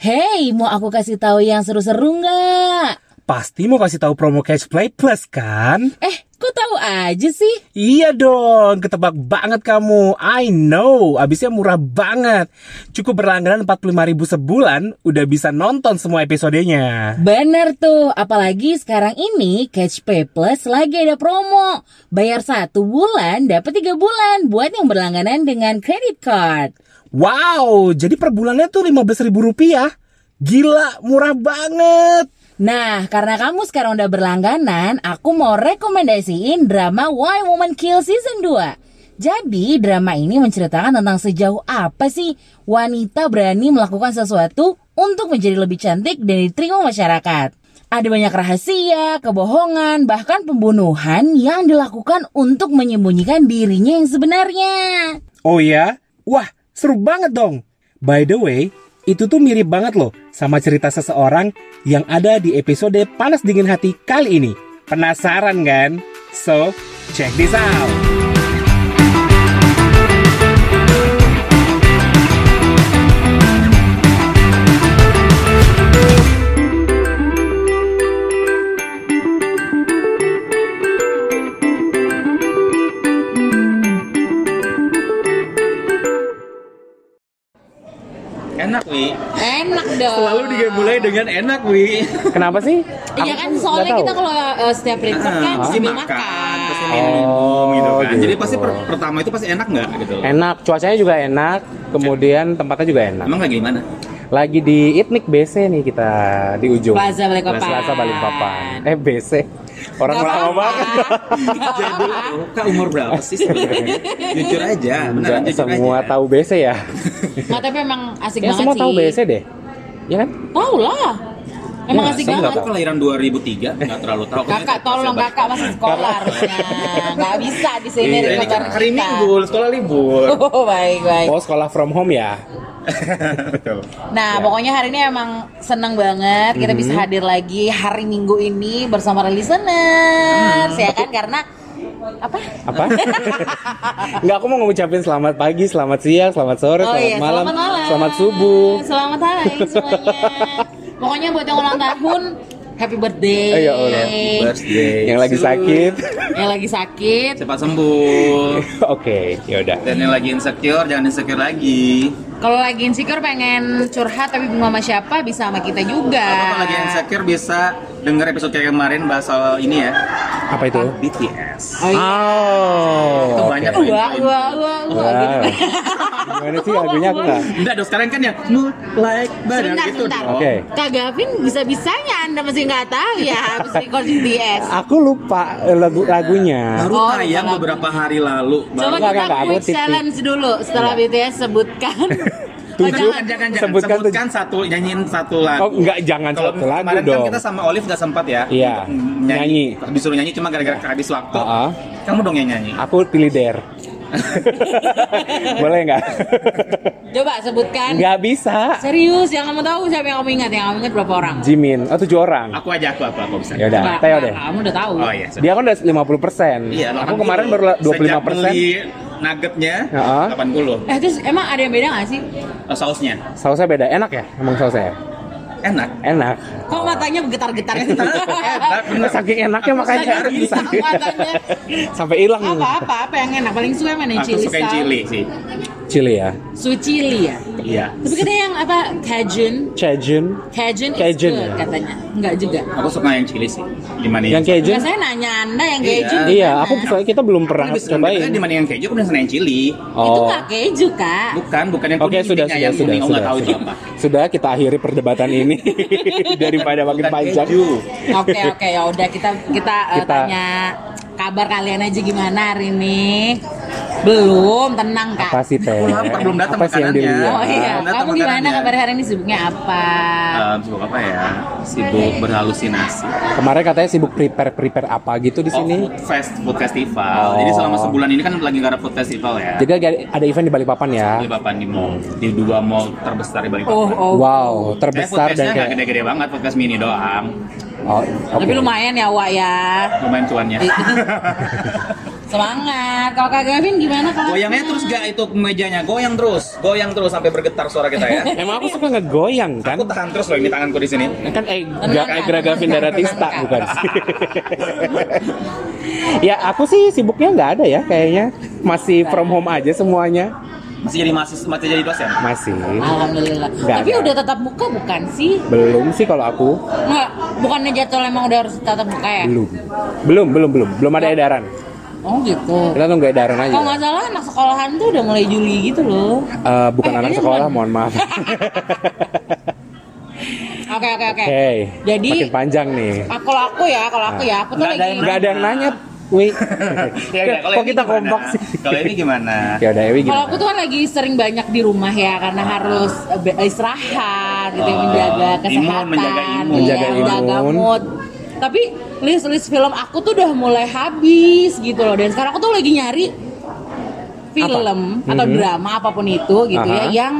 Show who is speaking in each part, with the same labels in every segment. Speaker 1: Hey, mau aku kasih tahu yang seru-seru nggak?
Speaker 2: Pasti mau kasih tahu promo Catch Play Plus kan?
Speaker 1: Eh, kok tahu aja sih?
Speaker 2: Iya dong, ketebak banget kamu. I know, abisnya murah banget. Cukup berlangganan 45.000 sebulan, udah bisa nonton semua episodenya.
Speaker 1: Bener tuh, apalagi sekarang ini Catch Play Plus lagi ada promo. Bayar satu bulan, dapat tiga bulan buat yang berlangganan dengan credit card.
Speaker 2: Wow, jadi per bulannya tuh 15.000 rupiah. Gila, murah banget.
Speaker 1: Nah, karena kamu sekarang udah berlangganan, aku mau rekomendasiin drama Why Woman Kill Season 2. Jadi, drama ini menceritakan tentang sejauh apa sih wanita berani melakukan sesuatu untuk menjadi lebih cantik dan diterima masyarakat. Ada banyak rahasia, kebohongan, bahkan pembunuhan yang dilakukan untuk menyembunyikan dirinya yang sebenarnya.
Speaker 2: Oh ya? Wah, seru banget dong. By the way, itu tuh mirip banget loh sama cerita seseorang yang ada di episode Panas Dingin Hati kali ini. Penasaran kan? So, check this out.
Speaker 3: Enak, Wi.
Speaker 1: Enak dong.
Speaker 3: Selalu dimulai dengan enak, Wi.
Speaker 2: Kenapa sih?
Speaker 1: Iya kan, soalnya
Speaker 2: tahu.
Speaker 1: kita kalau eh, setiap
Speaker 3: Iya.
Speaker 1: report kan
Speaker 3: Pasti
Speaker 1: sambil
Speaker 3: Ah, makan, pasti
Speaker 1: makan.
Speaker 3: minum
Speaker 2: Oh,
Speaker 3: gitu kan.
Speaker 2: gitu.
Speaker 3: Jadi pasti per- pertama itu pasti enak nggak gitu loh.
Speaker 2: Enak, cuacanya juga enak, kemudian tempatnya juga enak.
Speaker 3: Emang lagi di mana?
Speaker 2: Lagi di Itnik BC nih kita di ujung.
Speaker 1: Plaza Balikpapan.
Speaker 2: Plaza Balikpapan. Eh BC. Orang
Speaker 1: Gak
Speaker 2: lama
Speaker 1: apa-apa.
Speaker 2: banget.
Speaker 1: Gak
Speaker 3: Jadul
Speaker 1: apa-apa.
Speaker 3: tuh, Kak umur berapa sih sebenarnya? jujur aja, beneran
Speaker 2: Nggak
Speaker 3: jujur
Speaker 2: semua
Speaker 3: aja.
Speaker 2: tahu BC ya.
Speaker 1: Nggak, tapi emang asik
Speaker 2: Ya
Speaker 1: banget
Speaker 2: semua
Speaker 1: sih.
Speaker 2: tahu BC deh. Ya kan?
Speaker 1: Tahu lah. Emang
Speaker 2: Ya,
Speaker 1: asik
Speaker 2: saya nggak
Speaker 1: banget.
Speaker 3: Aku kelahiran 2003, nggak terlalu tahu.
Speaker 1: Kakak tolong kakak masih sekolah harusnya. Nggak bisa di sini
Speaker 3: Iya, ini
Speaker 1: rekover
Speaker 3: kan hari
Speaker 1: kita.
Speaker 3: Minggu, sekolah libur.
Speaker 1: Oh, baik baik.
Speaker 2: Oh, sekolah from home ya.
Speaker 3: Betul.
Speaker 1: Nah,
Speaker 2: Ya. Mhm.
Speaker 1: pokoknya hari ini emang seneng banget kita bisa hadir lagi hari Minggu ini bersama
Speaker 2: Hmm.
Speaker 1: listeners ya kan karena apa?
Speaker 2: Apa? Enggak, aku mau ngucapin selamat pagi, selamat siang, selamat sore,
Speaker 1: Oh
Speaker 2: selamat,
Speaker 1: iya,
Speaker 2: malam,
Speaker 1: selamat malam.
Speaker 2: selamat subuh.
Speaker 1: Selamat hari semuanya. Pokoknya buat yang ulang tahun, happy birthday.
Speaker 2: Oh, iya, ulang
Speaker 3: Birthday.
Speaker 2: Yang lagi
Speaker 3: soon.
Speaker 2: sakit.
Speaker 1: Yang lagi sakit,
Speaker 3: Cepat sembuh.
Speaker 2: Oke, yaudah.
Speaker 3: Dan yang lagi insecure, jangan insecure lagi.
Speaker 1: kalau lagi insecure pengen curhat tapi bingung sama siapa bisa sama kita juga.
Speaker 3: Atau kalau lagi insecure bisa denger episode kayak kemarin bahas soal ini ya.
Speaker 2: Apa itu?
Speaker 3: BTS.
Speaker 1: Oh, iya.
Speaker 3: Itu
Speaker 2: Oh.
Speaker 3: banyak
Speaker 1: Wah, wah,
Speaker 3: info-info.
Speaker 1: wah, wah, gitu.
Speaker 2: Wow. Gimana sih lagunya aku nggak?
Speaker 3: Enggak dong, sekarang kan yang nu like badan
Speaker 1: Sebentar,
Speaker 3: gitu
Speaker 1: sebentar.
Speaker 3: dong.
Speaker 2: Oke.
Speaker 1: Kak Gavin bisa-bisanya Anda masih nggak tahu ya habis record BTS.
Speaker 2: Aku lupa eh, lagu lagunya.
Speaker 3: Baru
Speaker 1: Oh,
Speaker 3: tayang
Speaker 1: lupa
Speaker 3: beberapa hari lalu.
Speaker 1: Coba
Speaker 3: Kan Baru
Speaker 2: Enggak,
Speaker 1: kita
Speaker 2: enggak, aku
Speaker 1: quick
Speaker 2: tip-tip.
Speaker 1: challenge dulu setelah BTS sebutkan.
Speaker 2: Iya.
Speaker 1: Eh,
Speaker 2: Tujuh.
Speaker 3: jangan, jangan, jangan.
Speaker 2: Sebutkan
Speaker 3: Sebutkan,
Speaker 2: tuh.
Speaker 3: satu, nyanyiin satu lagu.
Speaker 2: Oh, enggak, jangan
Speaker 3: Kalau
Speaker 2: satu lagu
Speaker 3: kemarin
Speaker 2: dong.
Speaker 3: kan kita sama Olive gak sempat ya.
Speaker 2: Iya,
Speaker 3: untuk Nyanyi. Disuruh nyanyi cuma gara-gara habis waktu.
Speaker 2: Ah, ah.
Speaker 3: Kamu dong yang nyanyi.
Speaker 2: Aku pilih Der. Boleh nggak?
Speaker 1: Coba sebutkan.
Speaker 2: Nggak bisa.
Speaker 1: Serius, yang kamu tahu siapa yang kamu ingat? Yang kamu ingat berapa orang?
Speaker 2: Jimin, oh tujuh orang.
Speaker 3: Aku aja, aku, aku, aku bisa.
Speaker 2: Yaudah,
Speaker 1: Nggak,
Speaker 2: Teo
Speaker 1: nggak,
Speaker 2: Ya, deh.
Speaker 1: Kamu udah tahu.
Speaker 3: Oh iya,
Speaker 2: Dia kan udah 50 persen.
Speaker 3: Iya,
Speaker 2: Aku
Speaker 3: 80.
Speaker 2: kemarin baru la- 25
Speaker 3: Sejak
Speaker 2: persen.
Speaker 3: beli nuggetnya
Speaker 2: Heeh.
Speaker 3: 80
Speaker 1: Eh terus emang ada yang beda nggak sih?
Speaker 3: Oh, sausnya
Speaker 2: Sausnya beda, enak ya? Emang sausnya
Speaker 3: enak
Speaker 2: enak.
Speaker 1: Kok matanya bergetar-getar gitu?
Speaker 3: enak bener gitu.
Speaker 2: Saking enaknya makanya
Speaker 1: Saya bisa matanya.
Speaker 2: sampai hilang
Speaker 1: Apa apa apa yang enak? Paling suka yang mana?
Speaker 3: aku
Speaker 1: Chili
Speaker 3: suka yang
Speaker 1: sauce?
Speaker 3: cili sih
Speaker 2: Chili ya.
Speaker 1: Su chili ya.
Speaker 3: iya
Speaker 1: Tapi katanya yang apa? Cajun.
Speaker 2: Cajun.
Speaker 1: Cajun,
Speaker 2: Cajun,
Speaker 1: is good
Speaker 2: ya?
Speaker 1: katanya. Enggak juga.
Speaker 3: aku suka yang cili sih gimana
Speaker 2: Yang
Speaker 1: Enggak,
Speaker 2: Cajun.
Speaker 1: saya nanya Anda yang
Speaker 3: Iya.
Speaker 1: keju.
Speaker 2: Iya, aku soalnya kita belum pernah
Speaker 3: lebih seneng
Speaker 2: cobain.
Speaker 3: dagingnya dibanding kan yang keju aku udah seneng yang cili
Speaker 1: Itu
Speaker 2: Oh.
Speaker 1: enggak keju, Kak.
Speaker 3: bukan bukan yang
Speaker 2: Oke,
Speaker 3: kuning,
Speaker 2: sudah
Speaker 3: intinya
Speaker 2: sudah
Speaker 3: yang
Speaker 2: sudah
Speaker 3: kuning, aku
Speaker 2: sudah.
Speaker 3: nggak tahu itu
Speaker 2: Sudah.
Speaker 3: apa
Speaker 2: Sudah kita akhiri perdebatan ini daripada makin
Speaker 3: Bukan
Speaker 2: panjang.
Speaker 3: keju.
Speaker 1: Oke, oke, ya udah kita kita, eh,
Speaker 2: Kita-
Speaker 1: tanya kabar kalian aja gimana hari ini. Belum, tenang, Kak.
Speaker 2: Apa sih teh?
Speaker 3: Aku lapar, belum datang
Speaker 2: Apa sih yang
Speaker 3: makanannya.
Speaker 2: dilihat?
Speaker 1: Oh iya,
Speaker 3: Datang
Speaker 1: kamu gimana
Speaker 3: makanannya.
Speaker 1: kabar hari ini sibuknya apa?
Speaker 3: Eh, sibuk apa ya sibuk berhalusinasi
Speaker 2: Kemarin katanya sibuk prepare prepare apa gitu di sini.
Speaker 3: Oh, food fest food festival
Speaker 2: Oh.
Speaker 3: jadi selama sebulan ini kan lagi nggak ada food festival ya
Speaker 2: Jadi lagi ada- ada event di Balikpapan ya.
Speaker 3: di Balikpapan di mall di dua mall terbesar di Balikpapan
Speaker 1: Oh, oh.
Speaker 2: Wow, terbesar dan
Speaker 3: Saya podcastnya nggak
Speaker 2: kayak
Speaker 3: gede-gede banget, podcast mini doang.
Speaker 2: Oh, oke.
Speaker 1: Tapi lumayan ya Wak ya.
Speaker 3: lumayan cuannya
Speaker 1: Semangat. Kalau Kak Gavin gimana kalau?
Speaker 3: goyangnya terus gak itu mejanya goyang terus goyang terus sampai bergetar suara kita ya
Speaker 2: Emang aku suka ngegoyang kan?
Speaker 3: aku tahan terus loh ini tanganku di sini
Speaker 2: Kan eh,
Speaker 1: Tenang,
Speaker 2: gak
Speaker 1: Kak.
Speaker 2: Agra Gavin
Speaker 1: Tenang,
Speaker 2: Daratista
Speaker 1: Kak.
Speaker 2: bukan sih. ya aku sih sibuknya nggak ada ya kayaknya masih from home aja semuanya
Speaker 3: masih jadi mahasiswa masih jadi dosen
Speaker 2: masih
Speaker 1: Alhamdulillah.
Speaker 2: Nggak
Speaker 1: Tapi
Speaker 2: ada.
Speaker 1: udah tatap muka bukan sih?
Speaker 2: belum sih kalau aku
Speaker 1: Nggak, bukannya jadwal emang udah harus tatap muka ya?
Speaker 2: belum belum belum belum belum ada edaran
Speaker 1: Oh gitu.
Speaker 2: kita tunggu edaran aja
Speaker 1: Kalau nggak salah anak sekolahan tuh udah mulai Juli gitu loh.
Speaker 2: Eh, bukan
Speaker 1: Eh,
Speaker 2: anak
Speaker 1: ini
Speaker 2: sekolah
Speaker 1: bukan.
Speaker 2: mohon maaf
Speaker 1: Oke oke oke.
Speaker 2: Hey,
Speaker 1: Jadi
Speaker 2: makin panjang nih.
Speaker 1: ah, kalau aku ya, kalau aku ya, aku tuh
Speaker 3: Nggak ada
Speaker 1: lagi
Speaker 3: yang
Speaker 2: Gak ada yang nanya, Wi.
Speaker 3: udah, Iya, Ya, kalau
Speaker 2: Kok
Speaker 3: ini
Speaker 2: kita
Speaker 3: gimana?
Speaker 2: kompak sih?
Speaker 3: kalau ini gimana
Speaker 2: Ya udah Ewi
Speaker 1: Kalau
Speaker 2: gimana?
Speaker 1: aku tuh kan lagi sering banyak di rumah ya karena harus eh, be- istirahat gitu ya,
Speaker 3: Oh,
Speaker 1: menjaga
Speaker 3: imun,
Speaker 1: kesehatan,
Speaker 3: menjaga imun.
Speaker 1: iya,
Speaker 2: Menjaga
Speaker 1: menjaga
Speaker 2: imun.
Speaker 1: mood. Tapi list-list film aku tuh udah mulai habis gitu loh dan sekarang aku tuh lagi nyari film atau
Speaker 3: Mm-hmm.
Speaker 2: Mhm.
Speaker 1: drama apapun itu gitu
Speaker 2: Aha.
Speaker 1: ya yang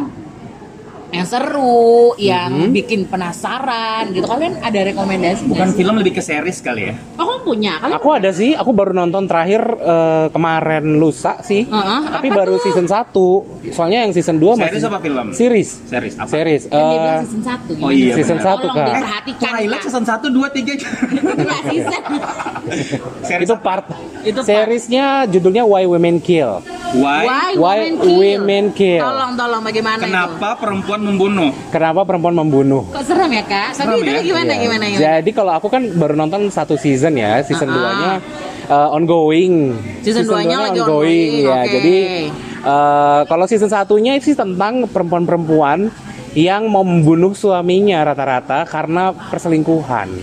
Speaker 1: yang seru, yang bikin penasaran gitu. Kalian ada rekomendasi?
Speaker 3: Mm-hmm. bukan
Speaker 1: nggak sih?
Speaker 3: film lebih ke series kali ya
Speaker 1: Oh, kamu punya? Kalian
Speaker 2: Aku ada sih, aku baru nonton terakhir eh, kemarin lusa sih.
Speaker 1: Heeh,
Speaker 2: Tapi
Speaker 1: apa
Speaker 2: baru
Speaker 1: tuh?
Speaker 2: season 1. Soalnya yang season 2 Oh, masih
Speaker 3: series apa film
Speaker 2: series.
Speaker 3: series apa
Speaker 2: Series.
Speaker 1: kan dia bilang
Speaker 2: Eh,
Speaker 1: season 1
Speaker 3: oh iya,
Speaker 2: season
Speaker 3: benar.
Speaker 2: satu, Kak.
Speaker 1: Tolong diperhatikan.
Speaker 3: Twilight
Speaker 1: Kak.
Speaker 3: season 1, 2, 3
Speaker 1: Itu nggak season.
Speaker 3: Series
Speaker 2: itu part.
Speaker 1: Itu part.
Speaker 2: Seriesnya judulnya Why Women Kill.
Speaker 3: Why?
Speaker 1: Why,
Speaker 2: Why
Speaker 1: women kill?
Speaker 2: women kill?
Speaker 1: Tolong, tolong bagaimana itu?
Speaker 3: Kenapa perempuan membunuh?
Speaker 2: Kenapa perempuan membunuh?
Speaker 1: Kok serem ya kak?
Speaker 3: Serem
Speaker 1: Tapi itu
Speaker 3: ya?
Speaker 1: gimana,
Speaker 2: Iya.
Speaker 1: gimana, gimana?
Speaker 2: Jadi kalau aku kan baru nonton satu season ya, season
Speaker 1: Ah.
Speaker 2: 2-nya eh, ongoing.
Speaker 1: Season 2-nya
Speaker 2: duanya
Speaker 1: lagi ongoing,
Speaker 2: ya.
Speaker 1: oke.
Speaker 2: Jadi eh, kalau season satunya sih tentang perempuan-perempuan yang mau membunuh suaminya rata-rata karena perselingkuhan.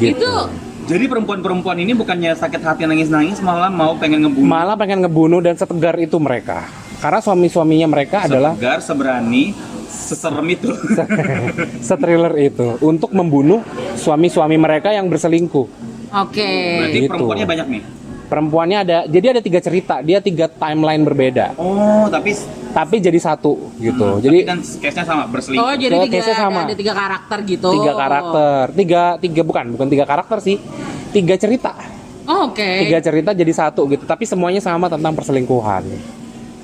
Speaker 2: Gitu.
Speaker 1: Itu
Speaker 3: Oh. Jadi perempuan-perempuan ini bukannya sakit hati nangis-nangis malah mau pengen ngebunuh.
Speaker 2: Malah pengen ngebunuh dan setegar itu mereka. Karena suami-suaminya mereka adalah
Speaker 3: Segar, seberani, seserem itu.
Speaker 2: setriller itu untuk membunuh suami-suami mereka yang berselingkuh.
Speaker 1: oke.
Speaker 3: Berarti
Speaker 2: Gitu.
Speaker 3: perempuannya banyak nih.
Speaker 2: Perempuannya ada, jadi ada tiga cerita, dia tiga timeline berbeda.
Speaker 3: Oh, tapi
Speaker 2: tapi jadi satu gitu.
Speaker 3: tapi
Speaker 2: jadi
Speaker 3: kan case-nya sama
Speaker 1: Oh
Speaker 3: berselingkuh.
Speaker 1: jadi
Speaker 2: Kalau
Speaker 1: tiga,
Speaker 2: case-nya sama.
Speaker 1: ada tiga karakter gitu.
Speaker 2: tiga
Speaker 3: Oh.
Speaker 2: karakter, tiga tiga bukan bukan tiga karakter sih, tiga cerita,
Speaker 1: Oh, oke.
Speaker 3: Eh.
Speaker 2: tiga cerita jadi satu gitu. Tapi semuanya sama tentang perselingkuhan.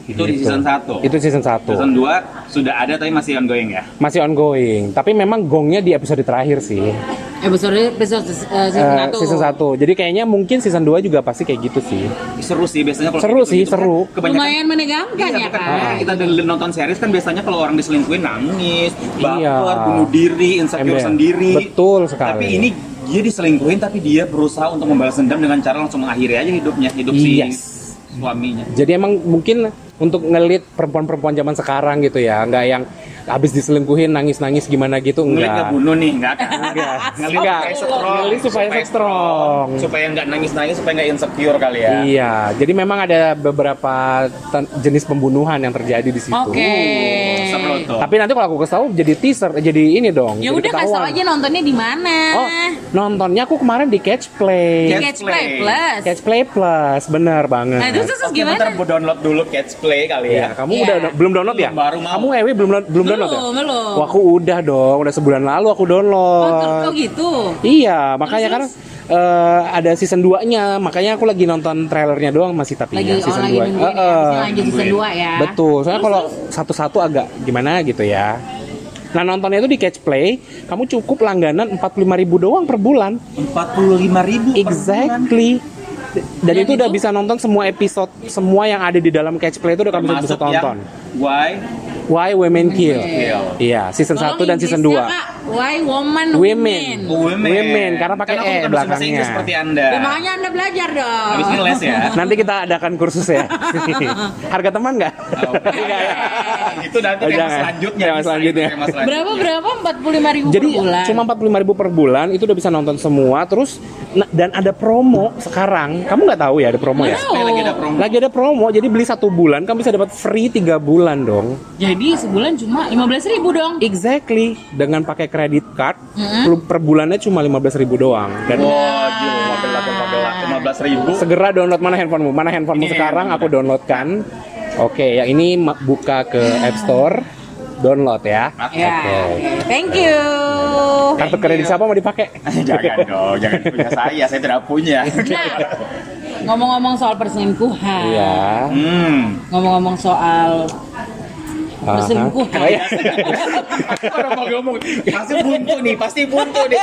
Speaker 2: Gitu.
Speaker 3: itu di season 1.
Speaker 2: Itu season satu.
Speaker 3: Season 2 sudah ada tapi masih ongoing ya.
Speaker 2: Masih ongoing. Tapi memang gongnya di episode terakhir sih.
Speaker 1: Episode episode eh, season
Speaker 2: Eh,
Speaker 1: satu.
Speaker 2: season satu. Jadi kayaknya mungkin season 2 juga pasti kayak gitu sih.
Speaker 3: Seru sih biasanya kalau
Speaker 2: Seru
Speaker 3: kayak gitu-gitu
Speaker 2: sih, seru.
Speaker 3: kan Kebanyakan
Speaker 1: Lumayan menegangkan
Speaker 3: Iya,
Speaker 1: ya
Speaker 3: bukan.
Speaker 1: kak.
Speaker 3: Karena kita del- nonton series kan biasanya kalau orang diselingkuhin nangis, baper,
Speaker 2: Iya.
Speaker 3: bunuh diri, insecure
Speaker 2: Ember.
Speaker 3: sendiri.
Speaker 2: Betul sekali.
Speaker 3: Tapi ini dia diselingkuhin tapi dia berusaha untuk membalas dendam dengan cara langsung mengakhiri aja hidupnya, hidup
Speaker 2: Yes.
Speaker 3: si suaminya.
Speaker 2: Jadi emang mungkin untuk ngelit perempuan-perempuan zaman sekarang gitu ya, nggak yang habis diselingkuhin nangis-nangis gimana gitu
Speaker 3: Ngelit nggak
Speaker 2: enggak.
Speaker 3: bunuh nih, nggak kan?
Speaker 2: Enggak.
Speaker 3: Ngelit
Speaker 2: Enggak.
Speaker 3: supaya strong.
Speaker 2: Ngelit supaya strong.
Speaker 3: Supaya nggak nangis-nangis, supaya nggak insecure kali ya.
Speaker 2: Iya, jadi memang ada beberapa ten- jenis pembunuhan yang terjadi di situ.
Speaker 1: Oke.
Speaker 3: Uh, Seru tuh.
Speaker 2: Tapi nanti kalau aku kasih tahu jadi teaser, jadi ini dong.
Speaker 1: Ya
Speaker 2: jadi
Speaker 1: udah kasih tau
Speaker 2: ketahuan.
Speaker 1: aja nontonnya di mana.
Speaker 2: Oh, nontonnya aku kemarin di
Speaker 1: Di
Speaker 2: Catch Play.
Speaker 3: Catch
Speaker 1: Catch Play
Speaker 3: Play.
Speaker 1: Plus.
Speaker 2: Catch Play Plus, bener banget.
Speaker 1: Nah terus terus
Speaker 3: Oke, bentar
Speaker 1: gimana?
Speaker 3: bu download dulu Catch Play kali
Speaker 2: Iya,
Speaker 3: ya.
Speaker 2: kamu
Speaker 1: Iya.
Speaker 2: udah do- belum download ya?
Speaker 3: Belum, baru mau.
Speaker 2: Kamu Ewi belum belum, download ya?
Speaker 1: Belum, belum.
Speaker 2: Wah, aku udah dong, udah sebulan lalu
Speaker 1: Oh,
Speaker 2: aku
Speaker 1: ter-
Speaker 2: download.
Speaker 1: oh gitu.
Speaker 2: Iya, makanya karena
Speaker 1: Terus,
Speaker 2: eh, ada season 2-nya, makanya aku lagi nonton trailernya doang masih tapi
Speaker 1: Lagi oh,
Speaker 2: ya, season
Speaker 1: lagi
Speaker 2: dua.
Speaker 1: nungguin ya.
Speaker 2: Eh, eh.
Speaker 1: Abis ini lanjut season
Speaker 3: nungguin.
Speaker 1: 2 ya.
Speaker 2: Betul, soalnya
Speaker 1: Terus,
Speaker 2: kalau satu-satu agak gimana gitu ya. Nah nontonnya itu di Catch Play, kamu cukup langganan 45.000 doang per bulan.
Speaker 3: Empat puluh lima ribu.
Speaker 2: Exactly. Dan,
Speaker 1: Dan
Speaker 2: itu, udah
Speaker 1: itu-
Speaker 2: bisa nonton semua episode, semua yang ada di dalam Catch Play itu udah kamu bisa
Speaker 3: Termasuk
Speaker 2: tonton.
Speaker 3: yang Why?
Speaker 2: Why Women Kill.
Speaker 3: Kill.
Speaker 2: Iya, season
Speaker 1: tolong
Speaker 2: 1 dan season 2.
Speaker 1: Inggrisnya, Kak. Why woman
Speaker 2: Women.
Speaker 1: women.
Speaker 3: Women.
Speaker 2: Women, karena pakai E
Speaker 3: aku bukan dosen bahasa
Speaker 2: belakangnya.
Speaker 3: Inggris seperti Anda.
Speaker 1: Ya, makanya anda belajar dong.
Speaker 3: Habis ini les ya.
Speaker 2: Nanti kita adakan kursus ya. Harga teman nggak?
Speaker 3: Oh, itu nanti tema
Speaker 2: Iya. Jangan.
Speaker 3: selanjutnya.
Speaker 2: Tema
Speaker 3: bisa,
Speaker 2: selanjutnya.
Speaker 3: itu tema selanjutnya.
Speaker 1: Berapa berapa 45.000 ribu
Speaker 2: Jadi
Speaker 1: per bulan.
Speaker 2: cuma 45.000 per bulan itu udah bisa nonton semua terus nah, dan ada promo sekarang. Kamu nggak tahu ya ada promo ya?
Speaker 1: Nggak
Speaker 3: Tapi lagi ada promo.
Speaker 2: Lagi ada promo, jadi beli satu bulan kamu bisa dapat free tiga bulan dong.
Speaker 1: Jadi sebulan cuma 15.000 ribu dong.
Speaker 2: Exactly. Dengan pakai kredit card
Speaker 4: Mm-hmm.
Speaker 1: Mm-mm.
Speaker 2: per- per bulannya cuma 15.000 doang. Dan
Speaker 3: Wah, gila, magelang, magelang, lima belas ribu.
Speaker 2: segera download mana handphonemu? Mana
Speaker 4: Iya,
Speaker 2: handphonemu
Speaker 3: Ini
Speaker 2: sekarang
Speaker 3: handphone.
Speaker 2: aku downloadkan. Oke, ya ini ma- buka ke App Store. download ya.
Speaker 4: Ya.
Speaker 2: Oke.
Speaker 4: Thank you.
Speaker 2: Kartu kredit siapa mau dipakai?
Speaker 3: jangan dong, jangan punya saya, saya tidak punya.
Speaker 4: Nah, ngomong-ngomong soal perselingkuhan.
Speaker 2: Iya.
Speaker 3: Hmm.
Speaker 4: Ngomong-ngomong soal
Speaker 2: Aha.
Speaker 4: perselingkuhan.
Speaker 2: Oh, iya.
Speaker 3: Orang mau ngomong, pasti buntu nih, pasti buntu nih.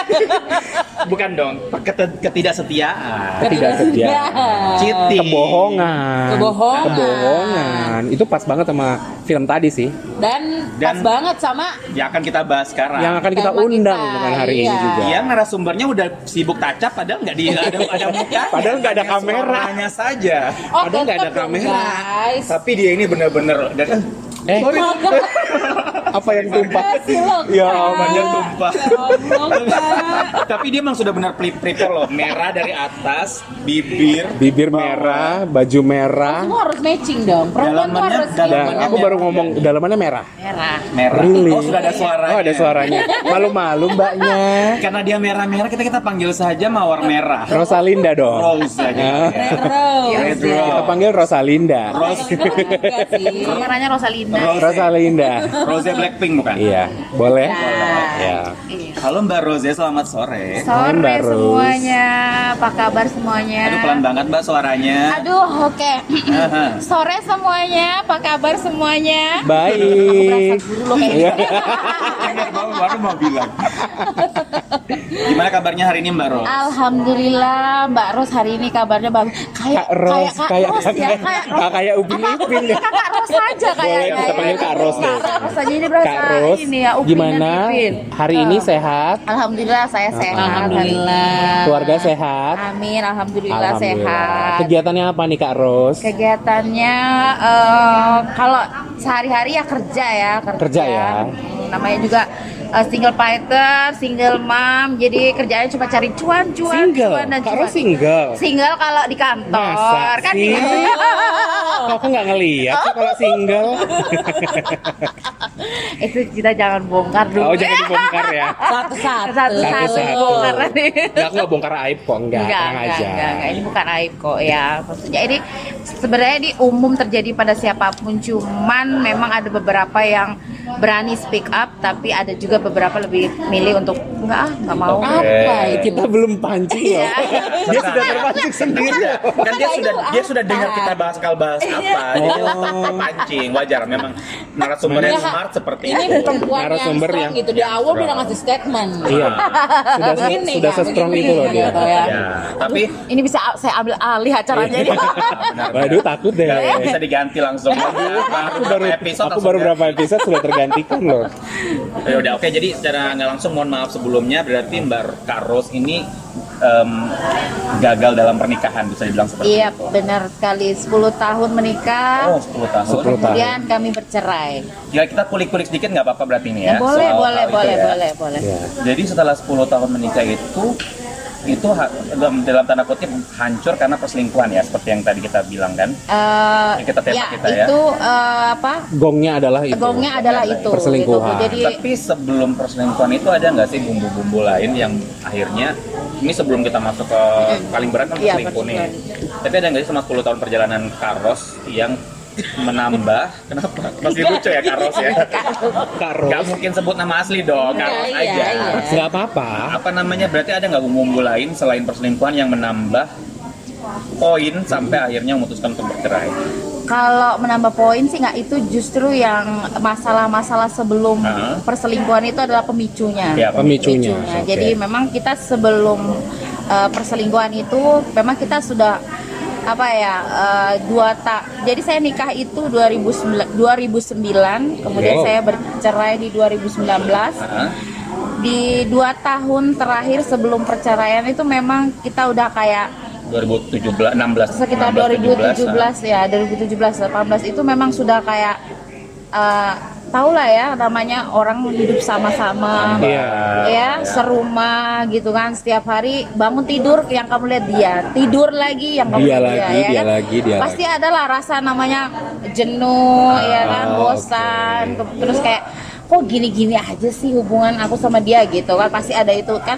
Speaker 3: Bukan dong, kete- ketidaksetiaan.
Speaker 2: Ketidaksediaan.
Speaker 3: Cheating.
Speaker 2: Kebohongan.
Speaker 4: Kebohongan.
Speaker 2: Kebohongan. Itu pas banget sama film tadi sih.
Speaker 4: Dan, pas
Speaker 3: Dan-
Speaker 4: banget sama
Speaker 3: Ya akan kita bahas sekarang.
Speaker 2: Yang akan kita
Speaker 4: Tema
Speaker 2: undang
Speaker 4: kita,
Speaker 2: bukan hari ini
Speaker 4: iya.
Speaker 2: juga.
Speaker 3: Iya, narasumbernya udah sibuk tacap padahal nggak di ada, ada muka.
Speaker 2: Padahal nggak ada kamera.
Speaker 3: Hanya saja.
Speaker 4: Oh,
Speaker 2: Padahal nggak ada
Speaker 4: tetep dong,
Speaker 2: kamera.
Speaker 4: Guys.
Speaker 3: Tapi dia ini benar-benar dan
Speaker 2: Eh,
Speaker 4: Makan
Speaker 2: apa yang tumpah?
Speaker 4: nasi loh,
Speaker 2: Ya,
Speaker 4: Kak.
Speaker 2: banyak
Speaker 3: tumpah.
Speaker 4: Ya Allah, Kak.
Speaker 3: Eh, Tapi dia emang sudah benar pre- prepare loh, merah dari atas, bibir,
Speaker 2: Bibir
Speaker 3: bawah.
Speaker 2: merah, baju merah.
Speaker 4: Semua harus matching dong. Perempuan tuh
Speaker 3: Dalamannya-
Speaker 4: harus
Speaker 2: Dan
Speaker 3: dalamannya-
Speaker 4: gimana?
Speaker 2: aku baru ngomong dalamannya merah.
Speaker 4: Merah.
Speaker 3: merah.
Speaker 2: Really?
Speaker 3: Oh, sudah ada suaranya.
Speaker 2: Oh, ada suaranya. Malu-malu mbaknya.
Speaker 3: Karena dia merah-merah, kita kita panggil saja mawar merah.
Speaker 2: Rosalinda dong.
Speaker 3: Rose aja.
Speaker 2: Ah.
Speaker 4: Red Rose.
Speaker 3: Red
Speaker 4: ya.
Speaker 2: Kita
Speaker 3: Rose.
Speaker 2: panggil Rosalinda.
Speaker 3: Rose.
Speaker 4: Enggak sih.
Speaker 5: Kameranya Rosalinda.
Speaker 3: Rose.
Speaker 2: Rosalinda.
Speaker 3: Rose Blackpink bukan?
Speaker 2: Iya, boleh? Ya.
Speaker 5: Iya.
Speaker 3: Halo Mbak Rose, selamat sore.
Speaker 2: Malam, Mbak
Speaker 5: Sore
Speaker 2: Rose.
Speaker 5: semuanya, apa kabar semuanya?
Speaker 3: Aduh pelan banget Mbak suaranya.
Speaker 5: Aduh, oke.
Speaker 3: Aha.
Speaker 5: Sore semuanya, apa kabar semuanya?
Speaker 2: Baik.
Speaker 5: gitu.
Speaker 2: Iya.
Speaker 3: Bener, baru, baru mau bilang. Gimana kabarnya hari ini Mbak
Speaker 5: Ah.
Speaker 3: Rose?
Speaker 5: Alhamdulillah, Mbak Ros hari ini kabarnya bagus. Kayak
Speaker 2: Kak Ros,
Speaker 5: kayak Kak
Speaker 2: kayak
Speaker 5: Ros ya, kayak Ros.
Speaker 2: Kak- kayak Ubin Ipin ya.
Speaker 5: Kakak Ros aja kayaknya.
Speaker 2: Boleh,
Speaker 5: ya.
Speaker 2: kita panggil Kak Ros deh.
Speaker 5: Kak Ros aja ini berasa
Speaker 2: Kak Ros,
Speaker 5: ini ya, Upin
Speaker 2: gimana?
Speaker 5: dan Ipin.
Speaker 2: Hari ini sehat?
Speaker 5: Alhamdulillah saya sehat.
Speaker 4: Alhamdulillah.
Speaker 2: Keluarga sehat?
Speaker 5: Amin, alhamdulillah, sehat.
Speaker 2: Kegiatannya apa nih Kak Ros?
Speaker 5: Kegiatannya eh, kalau sehari-hari ya kerja ya kerja,
Speaker 2: Kerja ya.
Speaker 5: Hmm, Namanya juga eh, single fighter, single mom, jadi kerjanya cuma cari cuan, cuan,
Speaker 2: Single.
Speaker 5: cuan dan
Speaker 2: Kak
Speaker 5: cuan.
Speaker 2: Ros single.
Speaker 5: Single kalau di kantor
Speaker 2: Masa
Speaker 5: kan
Speaker 2: sih? Kok aku nggak ngeliat sih kalau single?
Speaker 5: itu kita jangan bongkar dulu.
Speaker 2: Oh jangan dibongkar ya.
Speaker 4: Satu-satu.
Speaker 5: Satu-satu.
Speaker 2: Satu-satu.
Speaker 5: Bongkar nanti.
Speaker 2: Nggak, aku nggak bongkar aib kok, nggak, Ya, tenang aja.
Speaker 5: enggak, enggak. ini bukan aib kok ya. Maksudnya ini sebenarnya ini umum terjadi pada siapapun, cuman memang ada beberapa yang berani speak up, tapi ada juga beberapa lebih milih untuk enggak ah, enggak mau.
Speaker 4: Apa itu?
Speaker 2: Kita belum pancing loh.
Speaker 5: Iya.
Speaker 2: Dia sudah terpancing sendiri.
Speaker 3: Kan Iya. dia sudah dia sudah dengar kita bahas kal bahas apa. Jadi dia langsung terpancing. Wajar memang narasumbernya
Speaker 4: Enggak.
Speaker 3: smart seperti
Speaker 4: Ini
Speaker 3: itu.
Speaker 4: perempuan yang
Speaker 2: Narasumber
Speaker 4: strong
Speaker 2: yang-
Speaker 4: gitu. Di awal dia udah ngasih statement.
Speaker 2: Iya. Sudah se-
Speaker 4: Begini,
Speaker 2: sudah
Speaker 4: Kak,
Speaker 2: se-strong
Speaker 4: begini,
Speaker 2: itu loh dia.
Speaker 4: gitu ya.
Speaker 3: Ya, tapi
Speaker 5: Ini bisa a- saya ambil alih acaranya ini.
Speaker 3: benar,
Speaker 2: Waduh takut
Speaker 5: Iya.
Speaker 2: deh.
Speaker 3: benar. bisa diganti langsung. Baru
Speaker 2: Aku baru, aku baru berapa episode sudah tergantikan loh.
Speaker 3: Ya udah oke jadi secara nggak langsung mohon maaf sebelumnya berarti Mbak Karos ini em, gagal dalam pernikahan bisa dibilang seperti
Speaker 5: Iya,
Speaker 3: itu.
Speaker 5: benar sekali. 10 tahun menikah.
Speaker 3: Oh, 10 tahun.
Speaker 2: 10 tahun.
Speaker 5: Kemudian kami bercerai.
Speaker 3: Ya kita kulik-kulik sedikit nggak apa-apa berarti ini ya.
Speaker 5: Ya, boleh,
Speaker 3: soal hal
Speaker 5: boleh,
Speaker 3: itu
Speaker 5: boleh,
Speaker 3: ya.
Speaker 5: boleh, boleh.
Speaker 2: Ya.
Speaker 3: Jadi setelah 10 tahun menikah itu itu ha- dalam, dalam tanda kutip hancur karena perselingkuhan ya seperti yang tadi kita bilang kan.
Speaker 5: Eh,
Speaker 3: Ya, kita tembak
Speaker 5: ya,
Speaker 3: kita ya.
Speaker 5: itu eh, apa?
Speaker 2: Gongnya adalah itu.
Speaker 5: Gongnya adalah itu.
Speaker 2: Perselingkuhan.
Speaker 5: gitu. Jadi
Speaker 3: Tapi sebelum perselingkuhan itu ada nggak sih bumbu-bumbu lain yang akhirnya ini sebelum kita masuk ke paling berat kan
Speaker 5: Iya,
Speaker 3: perselingkuh nih.
Speaker 5: perselingkuhan.
Speaker 3: Tapi ada nggak sih sama 10 tahun perjalanan Karos yang menambah kenapa masih
Speaker 5: Iya.
Speaker 3: lucu ya Karos ya
Speaker 2: Kak
Speaker 3: nggak
Speaker 2: Ros,
Speaker 3: mungkin sebut nama asli dong Karos
Speaker 4: Iya,
Speaker 3: aja
Speaker 4: iya, iya.
Speaker 2: nggak apa-apa.
Speaker 3: apa namanya berarti ada nggak bumbu-bumbu lain selain perselingkuhan yang menambah poin sampai akhirnya memutuskan untuk bercerai
Speaker 5: Kalau menambah poin sih nggak itu justru yang masalah-masalah sebelum
Speaker 3: Ah.
Speaker 5: perselingkuhan itu adalah
Speaker 3: ya
Speaker 5: pemicunya.
Speaker 2: Iya, Pemicunya.
Speaker 5: Pemicunya.
Speaker 2: Oke.
Speaker 5: Jadi memang kita sebelum uh, perselingkuhan itu memang kita sudah apa ya uh, dua tak. Jadi saya nikah itu 2009, 2009 kemudian
Speaker 2: Wow.
Speaker 5: saya bercerai di 2019.
Speaker 3: Hah?
Speaker 5: Di dua tahun terakhir sebelum perceraian itu memang kita udah kayak
Speaker 3: 2017 16
Speaker 5: sekitar
Speaker 3: 16, 17,
Speaker 2: ah.
Speaker 5: 2017 ya 2017 18 itu memang sudah kayak eh tau lah ya namanya orang hidup sama-sama
Speaker 2: Iya.
Speaker 5: ya serumah gitu kan setiap hari bangun tidur yang kamu lihat dia tidur lagi yang kamu
Speaker 2: Dia
Speaker 5: lihat
Speaker 2: lagi,
Speaker 5: ya
Speaker 2: dia
Speaker 5: kan?
Speaker 2: lagi, dia
Speaker 5: pasti adalah rasa namanya jenuh ya kan
Speaker 2: Ah,
Speaker 5: bosan
Speaker 2: oke.
Speaker 5: Ke- terus kayak kok gini-gini aja sih hubungan aku sama dia gitu kan pasti ada itu kan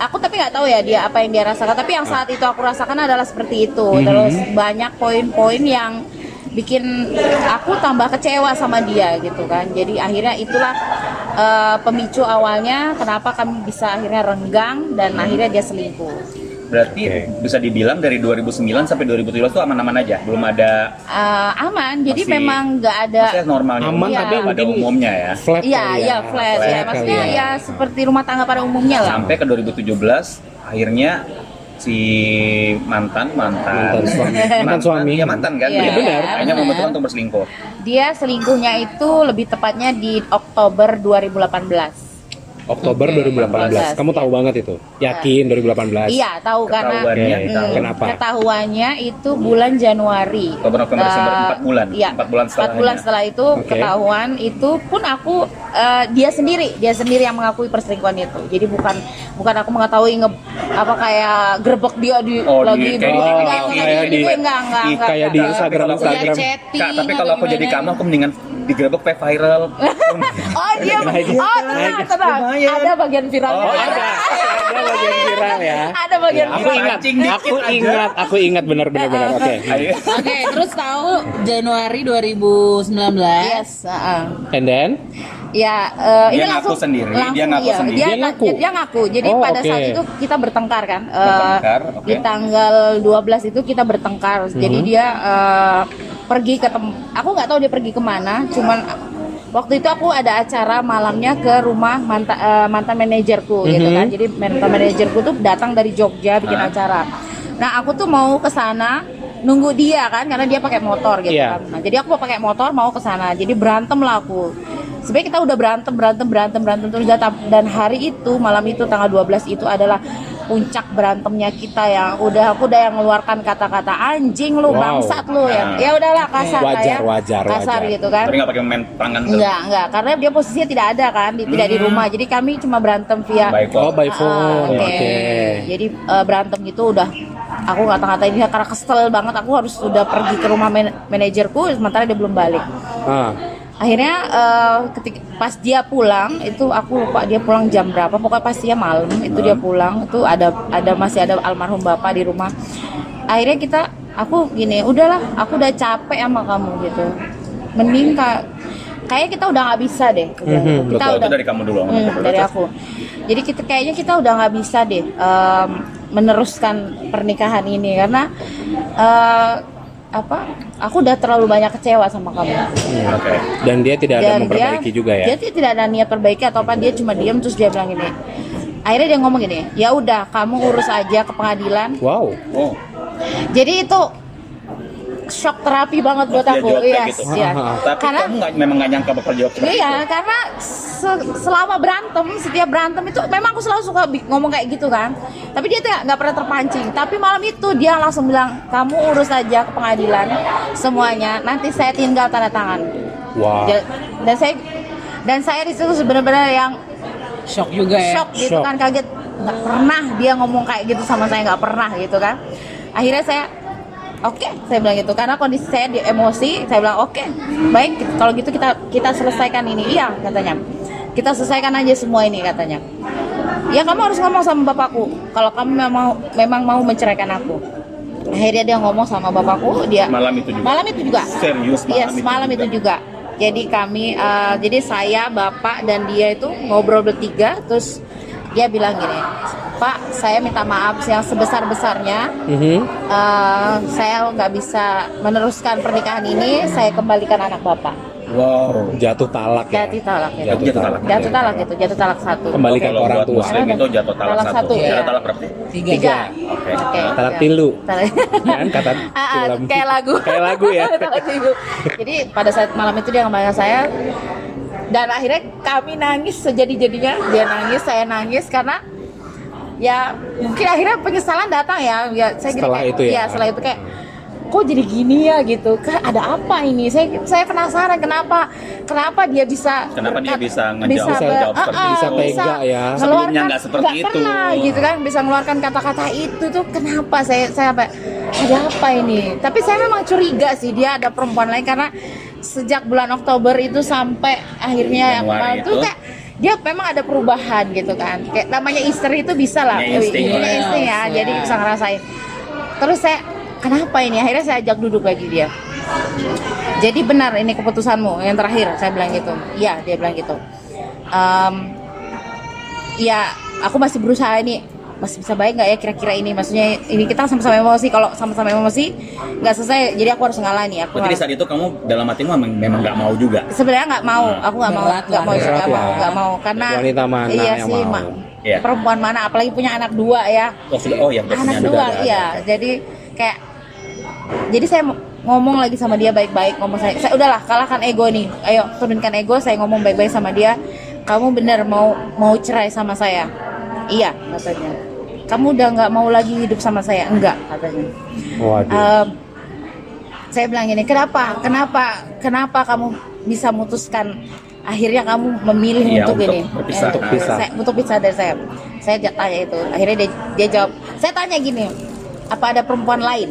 Speaker 5: aku tapi nggak tahu ya dia apa yang dia
Speaker 3: Mhm.
Speaker 5: rasakan tapi yang saat itu aku rasakan adalah seperti itu terus banyak poin-poin yang bikin aku tambah kecewa sama dia gitu kan. Jadi akhirnya itulah eh, pemicu awalnya kenapa kami bisa akhirnya renggang dan
Speaker 3: Mhm.
Speaker 5: akhirnya dia selingkuh.
Speaker 3: Berarti bisa dibilang dari 2009 sampai 2017 itu aman-aman aja, belum ada
Speaker 5: Eh, aman, jadi
Speaker 3: Masih-
Speaker 5: memang nggak ada
Speaker 3: maksudnya normalnya
Speaker 2: Aman
Speaker 5: Iya.
Speaker 2: tapi
Speaker 3: pada
Speaker 2: mungkin
Speaker 3: umumnya ya.
Speaker 2: flat
Speaker 5: Iya,
Speaker 2: kali
Speaker 5: iya flat, ya.
Speaker 3: Flat
Speaker 5: Maksudnya
Speaker 3: kali
Speaker 5: ya seperti rumah tangga pada umumnya lah.
Speaker 3: Sampai ke 2017 akhirnya si mantan mantan
Speaker 2: Mantan suami. Mantan suami.
Speaker 3: ya mantan kan
Speaker 5: Iya,
Speaker 3: Iya,
Speaker 5: benar.
Speaker 3: hanya
Speaker 5: benar.
Speaker 3: memutuskan untuk berselingkuh
Speaker 5: Dia selingkuhnya itu lebih tepatnya di Oktober 2018.
Speaker 2: Oktober 2018. Kamu tahu banget itu? Yakin 2018?
Speaker 5: Iya, tahu karena
Speaker 3: ketahuannya
Speaker 2: Oke.
Speaker 3: di
Speaker 5: Hmm,
Speaker 3: tahun
Speaker 2: Kenapa?
Speaker 5: Ketahuannya itu bulan Januari.
Speaker 3: Oktober, November, Desember,
Speaker 5: Eh,
Speaker 3: empat bulan.
Speaker 5: Iya,
Speaker 3: Empat bulan
Speaker 5: Empat bulan
Speaker 3: setelahnya.
Speaker 5: setelah itu
Speaker 2: Oke.
Speaker 5: ketahuan itu pun aku eh, dia sendiri, dia sendiri yang mengakui perselingkuhan itu. Jadi bukan bukan aku mengetahui nge, apa kayak gerbek dia di
Speaker 3: Oh, di-
Speaker 5: lagi
Speaker 3: kayak di-
Speaker 5: dulu. Enggak,
Speaker 2: kayak
Speaker 5: enggak,
Speaker 2: di-
Speaker 5: gitu, enggak, enggak,
Speaker 2: di-
Speaker 5: enggak,
Speaker 2: kayak di
Speaker 5: enggak.
Speaker 2: Instagram
Speaker 3: Tapi kalau-
Speaker 4: Ya,
Speaker 2: Instagram.
Speaker 4: chat.
Speaker 3: Kak, tapi
Speaker 4: Chatting
Speaker 3: kalau aku
Speaker 4: atau
Speaker 3: jadi
Speaker 4: gimana?
Speaker 3: kamu aku mendingan digerebek kayak viral
Speaker 5: Oh dia, oh tenang, tenang.
Speaker 3: Lumayan.
Speaker 5: Ada bagian viralnya.
Speaker 3: Oh,
Speaker 2: Ada, ada bagian viral ya.
Speaker 5: Ada bagian
Speaker 2: Aku
Speaker 5: viral.
Speaker 2: ingat,
Speaker 3: Pancing dikit
Speaker 2: aku
Speaker 3: aja.
Speaker 2: ingat, aku ingat benar-benar
Speaker 5: Eh,
Speaker 2: benar. Oke.
Speaker 3: Ayo.
Speaker 4: Oke, terus tahu Januari 2019.
Speaker 5: Yes, uh-uh. heeh.
Speaker 2: And then?
Speaker 5: Ya, eh, ini
Speaker 3: Dia ngaku
Speaker 5: langsung-
Speaker 3: sendiri, dia
Speaker 5: langsung,
Speaker 3: ngaku
Speaker 5: iya.
Speaker 3: sendiri.
Speaker 5: Dia,
Speaker 2: Dia ngaku.
Speaker 5: dia ngaku. Jadi
Speaker 2: Oh,
Speaker 5: pada
Speaker 2: oke.
Speaker 5: saat itu kita bertengkar kan. Eh,
Speaker 3: Bertengkar, oke.
Speaker 5: Di tanggal 12 itu kita bertengkar.
Speaker 2: Mhm.
Speaker 5: Jadi dia eh, pergi ke tem aku nggak tahu dia pergi kemana. Cuman waktu itu aku ada acara malamnya ke rumah manta- eh, mantan manajerku
Speaker 2: Mhm.
Speaker 5: gitu kan. Jadi mantan manajerku tuh datang dari Jogja bikin
Speaker 3: Ah.
Speaker 5: acara. Nah aku tuh mau ke sana nunggu dia kan karena dia pakai motor gitu
Speaker 2: Iya.
Speaker 5: kan. Nah, jadi aku mau pakai motor mau ke sana. Jadi berantem lah aku. Sebenarnya kita udah berantem, berantem, berantem, berantem terus datang dan hari itu malam itu tanggal 12 itu adalah puncak berantemnya kita yang udah aku udah yang mengeluarkan kata-kata anjing lu,
Speaker 2: Wow. Ah.
Speaker 5: bangsat lu yang ya udahlah kasar lah
Speaker 2: Wajar,
Speaker 5: ya.
Speaker 2: wajar,
Speaker 5: kasar
Speaker 2: wajar.
Speaker 5: gitu kan.
Speaker 3: tapi nggak pakai main tangan tuh
Speaker 5: Enggak, enggak, karena dia posisinya tidak ada kan, di- tidak di
Speaker 2: Hmm.
Speaker 5: rumah. Jadi kami cuma berantem via
Speaker 3: baik
Speaker 2: Oh, by
Speaker 5: Ah,
Speaker 2: phone.
Speaker 5: oke.
Speaker 2: Oke.
Speaker 5: Jadi eh, berantem gitu udah aku ngata-ngatain dia karena kesel banget aku harus sudah pergi ke rumah man- manajerku sementara dia belum balik.
Speaker 2: Ah,
Speaker 5: Akhirnya eh, ketika pas dia pulang itu aku lupa dia pulang jam berapa pokoknya pas dia malam itu
Speaker 2: Hmm.
Speaker 5: dia pulang itu ada ada masih ada almarhum bapak di rumah. Akhirnya kita aku gini udahlah aku udah capek sama kamu gitu. Mending ka- kayaknya kita udah nggak bisa deh.
Speaker 2: Mhm,
Speaker 5: kita
Speaker 3: Betul, itu
Speaker 5: udah
Speaker 3: dari kamu dulu
Speaker 2: Nah,
Speaker 5: Hmm, dari aku. Jadi kita kayaknya kita udah nggak bisa deh em, meneruskan pernikahan ini karena eh, apa? Aku udah terlalu banyak kecewa sama kamu.
Speaker 3: oke
Speaker 2: dan dia tidak ada
Speaker 5: Dan
Speaker 2: memperbaiki
Speaker 5: dia,
Speaker 2: juga ya.
Speaker 5: Dia tuh tidak ada niat perbaiki atau apa dia cuma diam terus dia bilang gini. Akhirnya dia ngomong gini, ya udah kamu urus aja ke pengadilan.
Speaker 2: Wow.
Speaker 3: oh
Speaker 5: Jadi itu shock terapi banget buat
Speaker 3: Dia
Speaker 5: aku.
Speaker 3: jawab kayak
Speaker 5: Iya,
Speaker 3: gitu.
Speaker 5: iya.
Speaker 3: tapi
Speaker 5: Karena
Speaker 3: kamu nggak memang nggak nyangka bakal jawab seperti
Speaker 5: Iya, karena se- selama berantem, setiap berantem itu memang aku selalu suka bi- ngomong kayak gitu kan. Tapi dia tuh nggak- nggak pernah terpancing. Tapi malam itu dia langsung bilang, kamu urus aja ke pengadilan semuanya. Nanti saya tinggal tanda tangan.
Speaker 2: Wow.
Speaker 5: Dia- Dan saya dan saya di situ benar-benar yang
Speaker 4: Shock juga ya.
Speaker 5: shock gitu
Speaker 2: Shock.
Speaker 5: kan kaget nggak pernah dia ngomong kayak gitu sama saya nggak pernah gitu kan akhirnya saya oke saya bilang gitu karena kondisi saya di emosi saya bilang oke baik kalau gitu kita kita selesaikan ini iya katanya kita selesaikan aja semua ini katanya ya kamu harus ngomong sama bapakku kalau kamu memang memang mau menceraikan aku akhirnya dia ngomong sama bapakku dia
Speaker 3: Malam itu juga?
Speaker 5: malam itu juga
Speaker 3: Serius malam
Speaker 5: Iya,
Speaker 3: itu
Speaker 5: malam
Speaker 3: juga?
Speaker 5: itu juga jadi kami eh, jadi saya bapak dan dia itu ngobrol bertiga terus dia bilang gini pak saya minta maaf yang sebesar besarnya
Speaker 2: Mhm.
Speaker 5: saya nggak bisa meneruskan pernikahan ini saya kembalikan anak bapak
Speaker 3: wow
Speaker 2: Jatuh talak ya.
Speaker 5: jatuh talak ya
Speaker 3: Jatuh talak.
Speaker 5: jatuh talak gitu jatuh talak satu
Speaker 2: Kembalikan
Speaker 3: kalau
Speaker 2: ke orang
Speaker 3: buat
Speaker 2: tua.
Speaker 3: muslim itu jatuh talak,
Speaker 5: Talak
Speaker 3: satu,
Speaker 5: satu, ya.
Speaker 3: Jatuh talak berarti
Speaker 4: Tiga.
Speaker 5: tiga
Speaker 3: Oke.
Speaker 5: Oke.
Speaker 2: Talak tilu.
Speaker 5: Talak-
Speaker 2: Kan kata
Speaker 5: Ah, ah,
Speaker 2: film.
Speaker 5: kayak lagu.
Speaker 2: Kayak lagu ya.
Speaker 5: Kayak lagu. Jadi pada saat malam itu dia ngebayang saya dan akhirnya kami nangis sejadi-jadinya. Dia nangis, saya nangis karena ya mungkin akhirnya penyesalan datang ya. Ya saya gini
Speaker 2: Setelah
Speaker 5: kayak-
Speaker 2: itu ya.
Speaker 5: iya, setelah itu kayak kok jadi gini ya gitu. Kayak ada apa ini? Saya saya penasaran kenapa kenapa dia bisa
Speaker 3: Kenapa dia bisa ngejawab-
Speaker 5: bisa, ber-
Speaker 3: ngejawab
Speaker 5: ah,
Speaker 3: seperti
Speaker 5: ah,
Speaker 2: Bisa
Speaker 3: itu?
Speaker 2: tega ya.
Speaker 3: Sebelumnya
Speaker 5: ngeluarkan-
Speaker 3: nggak seperti
Speaker 5: nggak
Speaker 3: itu.
Speaker 5: pernah gitu kan bisa mengeluarkan kata-kata itu tuh kenapa saya saya apa ada apa ini tapi saya memang curiga sih dia ada perempuan lain karena sejak bulan Oktober itu sampai akhirnya
Speaker 3: Januari
Speaker 5: Maret tuh
Speaker 3: itu.
Speaker 5: kayak dia memang ada perubahan gitu kan kayak namanya istri itu bisa lah
Speaker 3: Punya insting
Speaker 5: Punya
Speaker 3: lah ya.
Speaker 5: insting ya jadi bisa ngerasain terus saya kenapa ini akhirnya saya ajak duduk lagi dia jadi benar ini keputusanmu yang terakhir saya bilang gitu iya dia bilang gitu Em, ya aku masih berusaha ini masih bisa baik nggak ya kira-kira ini maksudnya ini kita sama-sama emosi kalau sama-sama emosi nggak selesai jadi aku harus ngalah nih
Speaker 3: Berarti
Speaker 5: aku
Speaker 3: di
Speaker 5: harus-
Speaker 3: saat itu kamu dalam hatimu memang- memang nggak mau juga.
Speaker 5: sebenarnya nggak mau
Speaker 3: Hmm.
Speaker 5: aku nggak mau
Speaker 4: Berat lah.
Speaker 5: nggak mau
Speaker 2: Berat
Speaker 5: nggak mau
Speaker 2: lah.
Speaker 5: nggak mau karena
Speaker 2: Wanita mana
Speaker 5: iya
Speaker 2: yang
Speaker 5: sih
Speaker 2: mau?
Speaker 5: Ma-
Speaker 3: Iya.
Speaker 5: perempuan mana apalagi punya anak dua ya
Speaker 3: Oh, sudah, oh ya, udah
Speaker 5: anak
Speaker 3: punya
Speaker 5: dua
Speaker 3: ada, ada,
Speaker 5: iya
Speaker 3: ada.
Speaker 5: jadi kayak jadi saya mo- ngomong lagi sama dia baik-baik ngomong saya saya udahlah kalahkan ego nih ayo turunkan ego saya ngomong baik-baik sama dia kamu bener mau mau cerai sama saya iya katanya kamu udah nggak mau lagi hidup sama saya enggak katanya
Speaker 2: Waduh.
Speaker 5: Um, saya bilang gini, kenapa, kenapa, kenapa kamu bisa memutuskan akhirnya kamu memilih
Speaker 3: Iya,
Speaker 5: untuk,
Speaker 3: untuk
Speaker 5: ini,
Speaker 3: berpisah.
Speaker 5: untuk
Speaker 2: Untuk pisah.
Speaker 5: saya- untuk pisah dari saya. Saya ja- tanya itu, akhirnya dia, dia jawab, saya tanya gini, apa ada perempuan lain?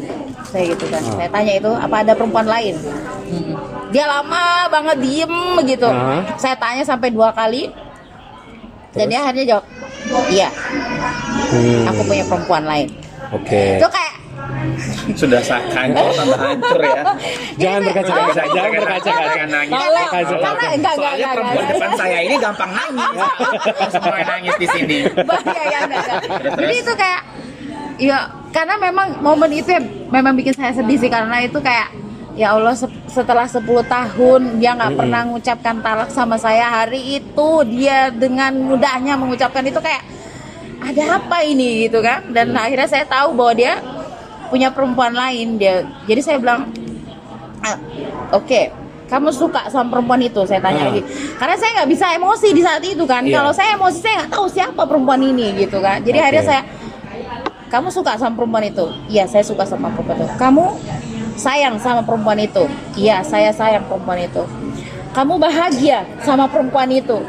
Speaker 5: Saya
Speaker 2: Ah.
Speaker 5: gitu kan, saya tanya itu, apa ada perempuan lain?
Speaker 4: Hmm. Oh,
Speaker 5: Dia lama banget diem begitu.
Speaker 2: Ah.
Speaker 5: Saya tanya sampai dua kali, dan dia akhirnya jawab, iya,
Speaker 2: Hmm,
Speaker 5: Eh, aku punya perempuan lain.
Speaker 2: Oke.
Speaker 5: Itu kayak
Speaker 3: Sudah sa- hancur tambah hancur ya. kan,
Speaker 2: Jangan berkaca-kaca, jangan berkaca-kaca.
Speaker 3: nangis.
Speaker 5: Karena,
Speaker 2: kaca,
Speaker 5: karena
Speaker 2: kaca.
Speaker 5: enggak, enggak,
Speaker 3: gitu. Soalnya
Speaker 5: enggak,
Speaker 3: perempuan kan.
Speaker 5: enggak.
Speaker 3: depan saya ini gampang nangis. Semua yang nangis di sini.
Speaker 5: Bahaya ya, enggak, enggak. Jadi itu kayak, ya karena memang momen itu yang memang bikin saya sedih sih karena itu kayak ya Allah se- setelah 10 tahun dia nggak pernah mengucapkan talak sama saya hari itu dia dengan mudahnya mengucapkan itu kayak ada apa ini gitu kan dan
Speaker 3: Mm.
Speaker 5: akhirnya saya tahu bahwa dia punya perempuan lain dia jadi saya bilang "Ah, oke kamu suka sama perempuan itu saya
Speaker 3: Mm.
Speaker 5: tanya
Speaker 2: Ah.
Speaker 5: lagi karena saya nggak bisa emosi di saat itu kan
Speaker 2: Iya.
Speaker 5: kalau saya emosi saya nggak tahu siapa perempuan ini gitu kan jadi
Speaker 2: Oke.
Speaker 5: akhirnya saya kamu suka sama perempuan itu iya saya suka sama perempuan itu kamu sayang sama perempuan itu iya saya sayang perempuan itu kamu bahagia sama perempuan itu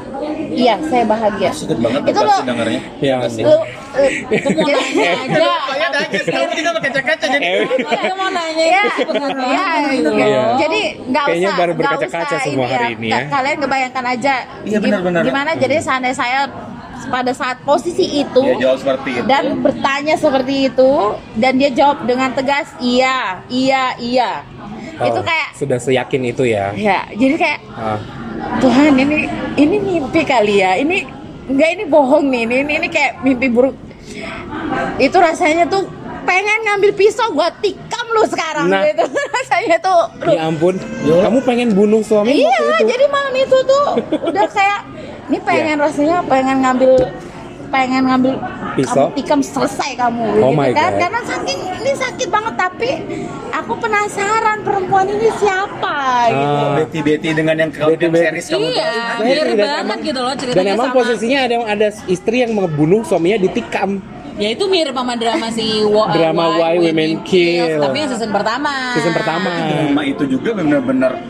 Speaker 5: iya saya bahagia
Speaker 3: Sedih banget
Speaker 5: itu
Speaker 3: pasti
Speaker 5: loh
Speaker 3: dengarnya.
Speaker 2: Ya,
Speaker 5: lu eh, itu mau nanya aja
Speaker 3: Saya nangis, kamu juga berkaca-kaca jadi.
Speaker 5: Eh.
Speaker 4: iya, Aku mau nanya
Speaker 5: ya,
Speaker 3: Iya,
Speaker 4: itu pengalaman
Speaker 5: ya,
Speaker 3: kan
Speaker 4: gitu
Speaker 5: itu
Speaker 4: loh.
Speaker 2: Iya.
Speaker 5: Jadi nggak usah,
Speaker 2: Kayaknya baru
Speaker 5: nggak
Speaker 2: berkaca-kaca
Speaker 5: usah
Speaker 2: semua
Speaker 5: ini
Speaker 2: hari ini ya. Hmm.
Speaker 5: Ka- Kalian kebayangkan aja
Speaker 3: Iya,
Speaker 5: gim-
Speaker 3: benar-benar.
Speaker 5: gimana jadi seandainya saya pada saat posisi itu
Speaker 3: Dia Iya, jawab seperti itu.
Speaker 5: dan bertanya seperti itu dan dia jawab dengan tegas iya, iya, iya. itu
Speaker 2: Oh,
Speaker 5: kayak
Speaker 2: sudah seyakin itu ya.
Speaker 5: ya, jadi kayak
Speaker 2: Ah,
Speaker 5: Tuhan ini ini mimpi kali ya ini enggak ini bohong nih ini ini, ini kayak mimpi buruk itu rasanya tuh pengen ngambil pisau gua tikam lu sekarang
Speaker 2: Nah.
Speaker 5: gitu rasanya tuh aduh.
Speaker 2: ya ampun, kamu pengen bunuh suami
Speaker 5: iya
Speaker 2: waktu itu. Iya.
Speaker 5: jadi malam itu tuh udah kayak ini pengen rasanya pengen ngambil pengen ngambil
Speaker 2: Pisau?
Speaker 5: kamu tikam selesai kamu
Speaker 2: Oh my
Speaker 5: gitu kan
Speaker 2: God.
Speaker 5: karena saking ini sakit banget tapi aku penasaran perempuan ini siapa gitu.
Speaker 2: Ah.
Speaker 3: Betty Betty Eh, dengan yang kalau
Speaker 2: Betty
Speaker 3: yang
Speaker 2: Betty.
Speaker 3: series kamu
Speaker 4: Iya,
Speaker 3: tahu.
Speaker 4: bener
Speaker 2: Dan
Speaker 4: banget
Speaker 2: emang-
Speaker 4: gitu loh ceritanya
Speaker 2: Dan emang
Speaker 4: sama.
Speaker 2: posisinya ada ada istri yang membunuh suaminya ditikam.
Speaker 4: Ya itu mirip sama drama si Wo-
Speaker 2: Drama Why Women Kill.
Speaker 4: Tapi yang season pertama.
Speaker 1: Ah.
Speaker 2: Season pertama.
Speaker 3: Drama itu juga benar-benar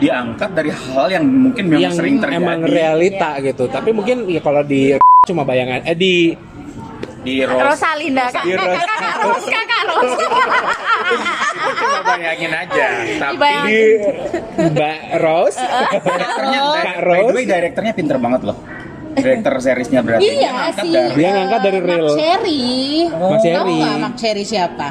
Speaker 3: diangkat dari hal yang mungkin memang
Speaker 2: yang
Speaker 3: sering terjadi
Speaker 2: emang realita gitu. Tapi mungkin ya kalau di cuma bayangan eh di
Speaker 3: di Rose.
Speaker 5: Rosalinda kak,
Speaker 2: Iya, Ros.
Speaker 5: kakak Ros kakak Ros
Speaker 3: Itu cuma bayangin aja. Tapi
Speaker 5: Dibayangin.
Speaker 2: di Mbak Rose
Speaker 3: direkturnya,
Speaker 2: Kak
Speaker 3: by the
Speaker 2: Rose.
Speaker 3: way, direkturnya pinter banget loh. Direktur seriesnya berarti.
Speaker 4: Iya si
Speaker 3: Dia ngangkat dari-
Speaker 2: Dia ngangkat dari
Speaker 4: eh,
Speaker 2: real.
Speaker 4: Mark Cherry.
Speaker 2: Mark
Speaker 4: Tahu
Speaker 2: Cherry.
Speaker 4: nggak Mark Cherry siapa?